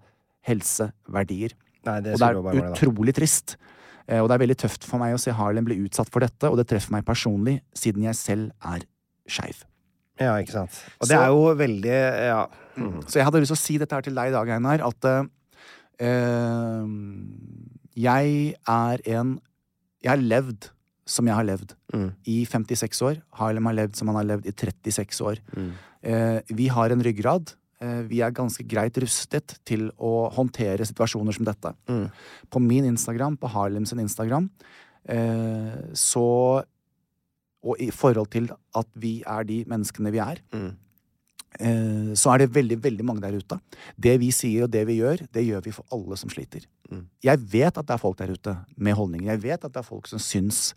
helseverdier. Nei, det Og det skulle jo bare er være det, da. utrolig trist. Eh, og det er veldig tøft for meg å se Harlem bli utsatt for dette, og det treffer meg personlig, siden jeg selv er skeiv. Ja, ikke sant. Og det er jo veldig Ja. Mm. Så jeg hadde lyst til å si dette her til deg i dag, Einar, at eh, eh, jeg er en Jeg har levd som jeg har levd. I 56 år. Harlem har levd som han har levd i 36 år. Eh, vi har en ryggrad. eh, vi er ganske greit rustet til å håndtere situasjoner som dette. På min Instagram, på Harlem sin Instagram, eh, så Og i forhold til at vi er de menneskene vi er, eh, så er det veldig, veldig mange der ute. Det vi sier og det vi gjør, det gjør vi for alle som sliter. Jeg vet at det er folk der ute med holdninger. Jeg vet at det er folk som syns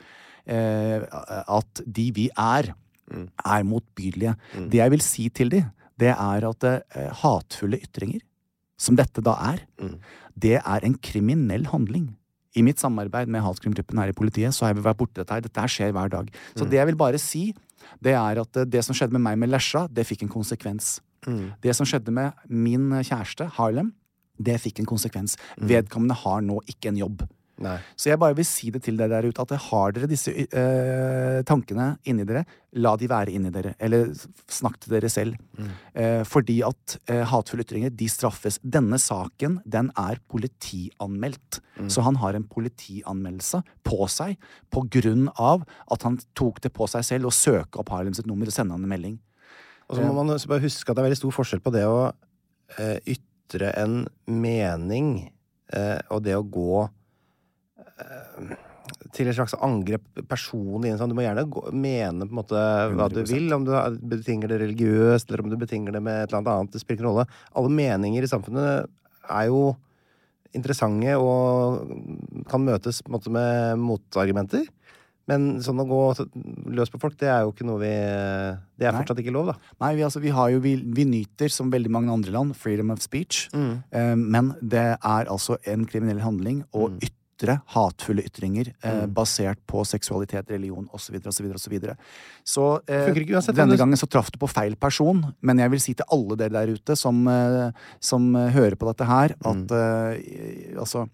eh, at de vi er, er motbydelige. Det jeg vil si til de, det er at eh, hatefulle ytringer, som dette da er, det er en kriminell handling. I mitt samarbeid med hatkrimgruppen her i politiet så har jeg vært borti dette her. Dette her skjer hver dag. Så det jeg vil bare si, det er at eh, det som skjedde med meg med Lesja, det fikk en konsekvens. Det som skjedde med min eh, kjæreste, Harlem, det fikk en konsekvens. Vedkommende har nå ikke en jobb. Nei. Så jeg bare vil si det til dere der ute, at har dere disse eh, tankene inni dere, la de være inni dere. Eller snakk til dere selv. Eh, fordi at eh, hatefulle ytringer, de straffes. Denne saken, den er politianmeldt. Så han har en politianmeldelse på seg på grunn av at han tok det på seg selv å søke opp Harlem sitt nummer og sende han en melding. Og så må man også bare huske at det er veldig stor forskjell på det å eh, ytre en mening eh, og det å gå eh, til et slags angrep personlig. inn, Sånn. Du må gjerne gå, mene på en måte hva du 100%. vil, om du er- betinger det religiøst eller om du betinger det med et eller annet annet. Det spiller ingen rolle. Alle meninger i samfunnet er jo interessante og kan møtes på en måte med motargumenter. Men sånn å gå løs på folk, det er jo ikke noe vi Det er Nei. fortsatt ikke lov, da. Nei, vi, altså, vi, har jo, vi, vi nyter, som veldig mange andre land, freedom of speech. Mm. Eh, men det er altså en kriminell handling å Mm. ytre hatefulle ytringer eh, basert på seksualitet, religion osv. osv. osv. Så eh, Funker ikke uansett om denne du- gangen så traff du på feil person, men jeg vil si til alle dere der ute som, eh, som eh, hører på dette her, Mm. at eh, altså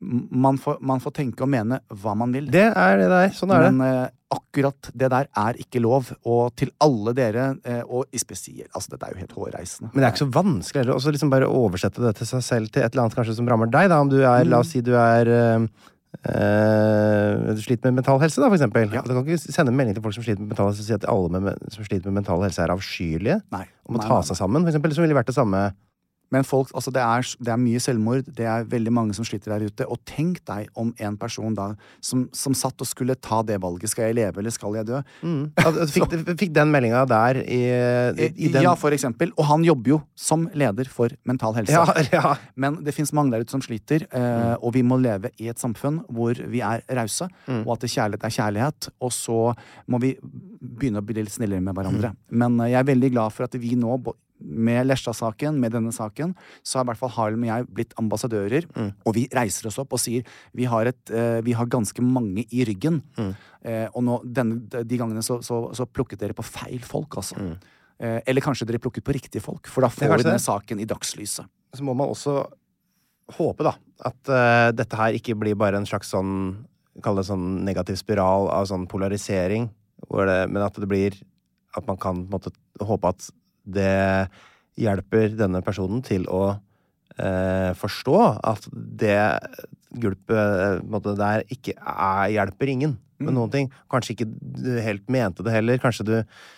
m- man får, man får tenke og mene hva man vil. Det er det det er. Sånn er det. Men eh, akkurat det der er ikke lov. Og til alle dere, eh, og i spesielt Altså, dette er jo helt hårreisende. Men det er ikke så vanskelig heller. Også liksom bare oversette det til seg selv til et eller annet kanskje som rammer deg. da, om du er, La oss si du er øh, øh, du sliter med mental helse, da, for eksempel. Du kan ikke sende en melding til folk som sliter med mental helse og si at alle med, men- som sliter med mental helse, er avskyelige. Nei. Og må Nei, ta nei, seg sammen, for eksempel. Som ville vært det samme. Men folk, altså det er, det er mye selvmord, det er veldig mange som sliter der ute. Og tenk deg om en person da som, som satt og skulle ta det valget. Skal jeg leve, eller skal jeg dø? At, at fikk, fikk den meldinga der i, i, Mm. i den Eh, Ja, for eksempel. Og han jobber jo som leder for Mental Helse. Ja, ja. Men det fins mange der ute som sliter, Mm. eh, og vi må leve i et samfunn hvor vi er rause, Mm. og at kjærlighet er kjærlighet. Og så må vi begynne å bli litt snillere med Mm. hverandre. Men eh, jeg er veldig glad for at vi nå, bo- med Lesja-saken, med denne saken, så har i hvert fall Harlem og jeg blitt ambassadører, Mm. og vi reiser oss opp og sier vi har, et, eh, vi har ganske mange i ryggen. Mm. Eh, og nå, denne, de gangene så, så, så plukket dere på feil folk, altså. Eh, eller kanskje dere plukket på riktige folk, for da kanskje får vi Mm. denne det. saken i dagslyset. så må man også håpe da at eh, dette her ikke blir bare en slags sånn Kall det sånn negativ spiral av sånn polarisering, hvor det, men at det blir At man kan på en måte håpe at det hjelper denne personen til å eh, forstå at det gulpet eh, på en måte, der ikke er, hjelper ingen med noen ting. Kanskje ikke du helt mente det heller. Kanskje du,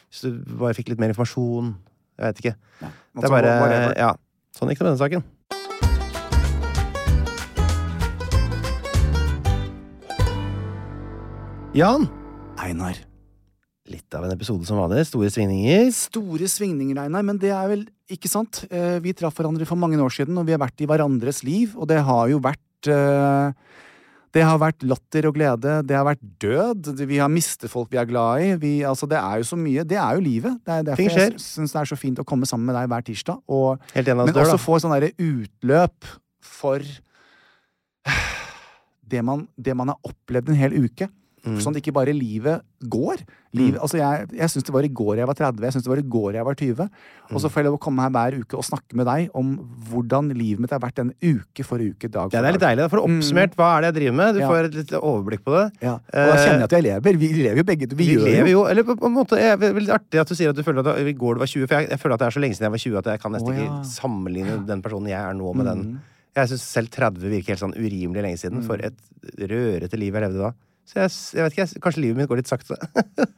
hvis du bare fikk litt mer informasjon. Jeg vet ikke. Det er Altså, bare whatever. Ja. Sånn gikk det med denne saken. Jan! Einar. Litt av en episode som vanlig. Store svingninger. Store svingninger, Einar, men det er vel ikke sant? Eh, Vi traff hverandre for mange år siden, og vi har vært i hverandres liv, og det har jo vært eh, det har vært latter og glede, det har vært død, det- vi har mistet folk vi er glad i. Vi, altså, det er jo så mye. Det er jo livet. Det er derfor Ting skjer. jeg syns det er så fint å komme sammen med deg hver tirsdag. Og, Helt igjen av oss men dør, også da. få sånn derre utløp for det man, det man har opplevd en hel uke. Mm. Sånn at ikke bare livet går. Liv, altså jeg jeg syns det var i går jeg var 30, jeg syns det var i går jeg var 20. Og Mm. så får jeg lov å komme her hver uke og snakke med deg om hvordan livet mitt har vært en uke for uke, dag for Ja, det er litt dag. deilig. da. For oppsummert, hva er det jeg driver med? Du Ja. får et litt overblikk på det. Ja. Og da kjenner jeg at jeg lever. Vi lever jo begge to. Vi, Eh, Vi gjør lever jo. jo Eller på på en måte jeg- det er Veldig artig at du sier at du føler at du- i går du var 20, for jeg, jeg føler at det er så lenge siden jeg var 20 at jeg kan nesten Å, ja. Mm. ikke sammenligne den personen jeg er nå, med den. Jeg syns selv 30 virker helt sånn urimelig lenge siden. For et rørete liv jeg levde da. Så jeg, s- jeg vet ikke, jeg, s- kanskje livet mitt går litt sakte.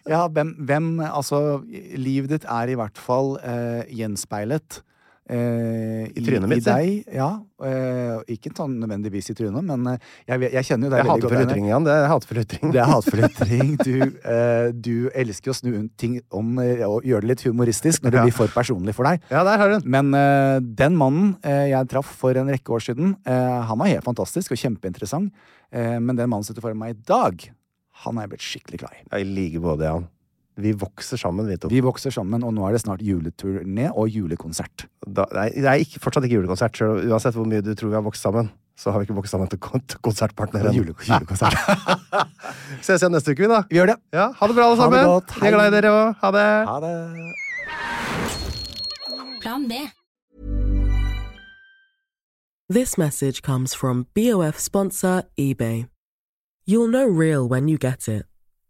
Ja, hvem, hvem Altså, livet ditt er i hvert fall eh, gjenspeilet eh, i, trynet mitt, i deg. Ja. Eh, ikke sånn nødvendigvis i trynet, men eh, jeg, vet- jeg kjenner jo Det deg er veldig godt. hatefull Einar. ytring igjen. Det er hatefull ytring. Det er hatefull ytring. Du, eh, du elsker å snu rundt ting om eh, og gjøre det litt humoristisk når det Ja. blir for personlig for deg. Ja, der har du den. Men eh, den mannen eh, jeg traff for en rekke år siden, eh, han var helt fantastisk og kjempeinteressant. Eh, men den mannen som sitter foran meg i dag, han er jeg blitt skikkelig glad i. Ja, I like både, Jan. Vi vokser sammen, vi to. Vi vokser sammen, og nå er det snart juleturné og julekonsert. Da, nei, det er ikke, fortsatt ikke julekonsert. Selv, uansett hvor mye du tror vi har vokst sammen, så har vi ikke vokst sammen til kon- til konsertpartner ennå. Jule, julekonsert. Ses igjen neste uke, vi, da. Vi gjør det. Ja, ha det bra, alle Ha det sammen. godt. Vi er glad i dere òg. Ha det. Ha det. Plan B. This message comes from BOF sponsor eBay. You'll know real when you get it.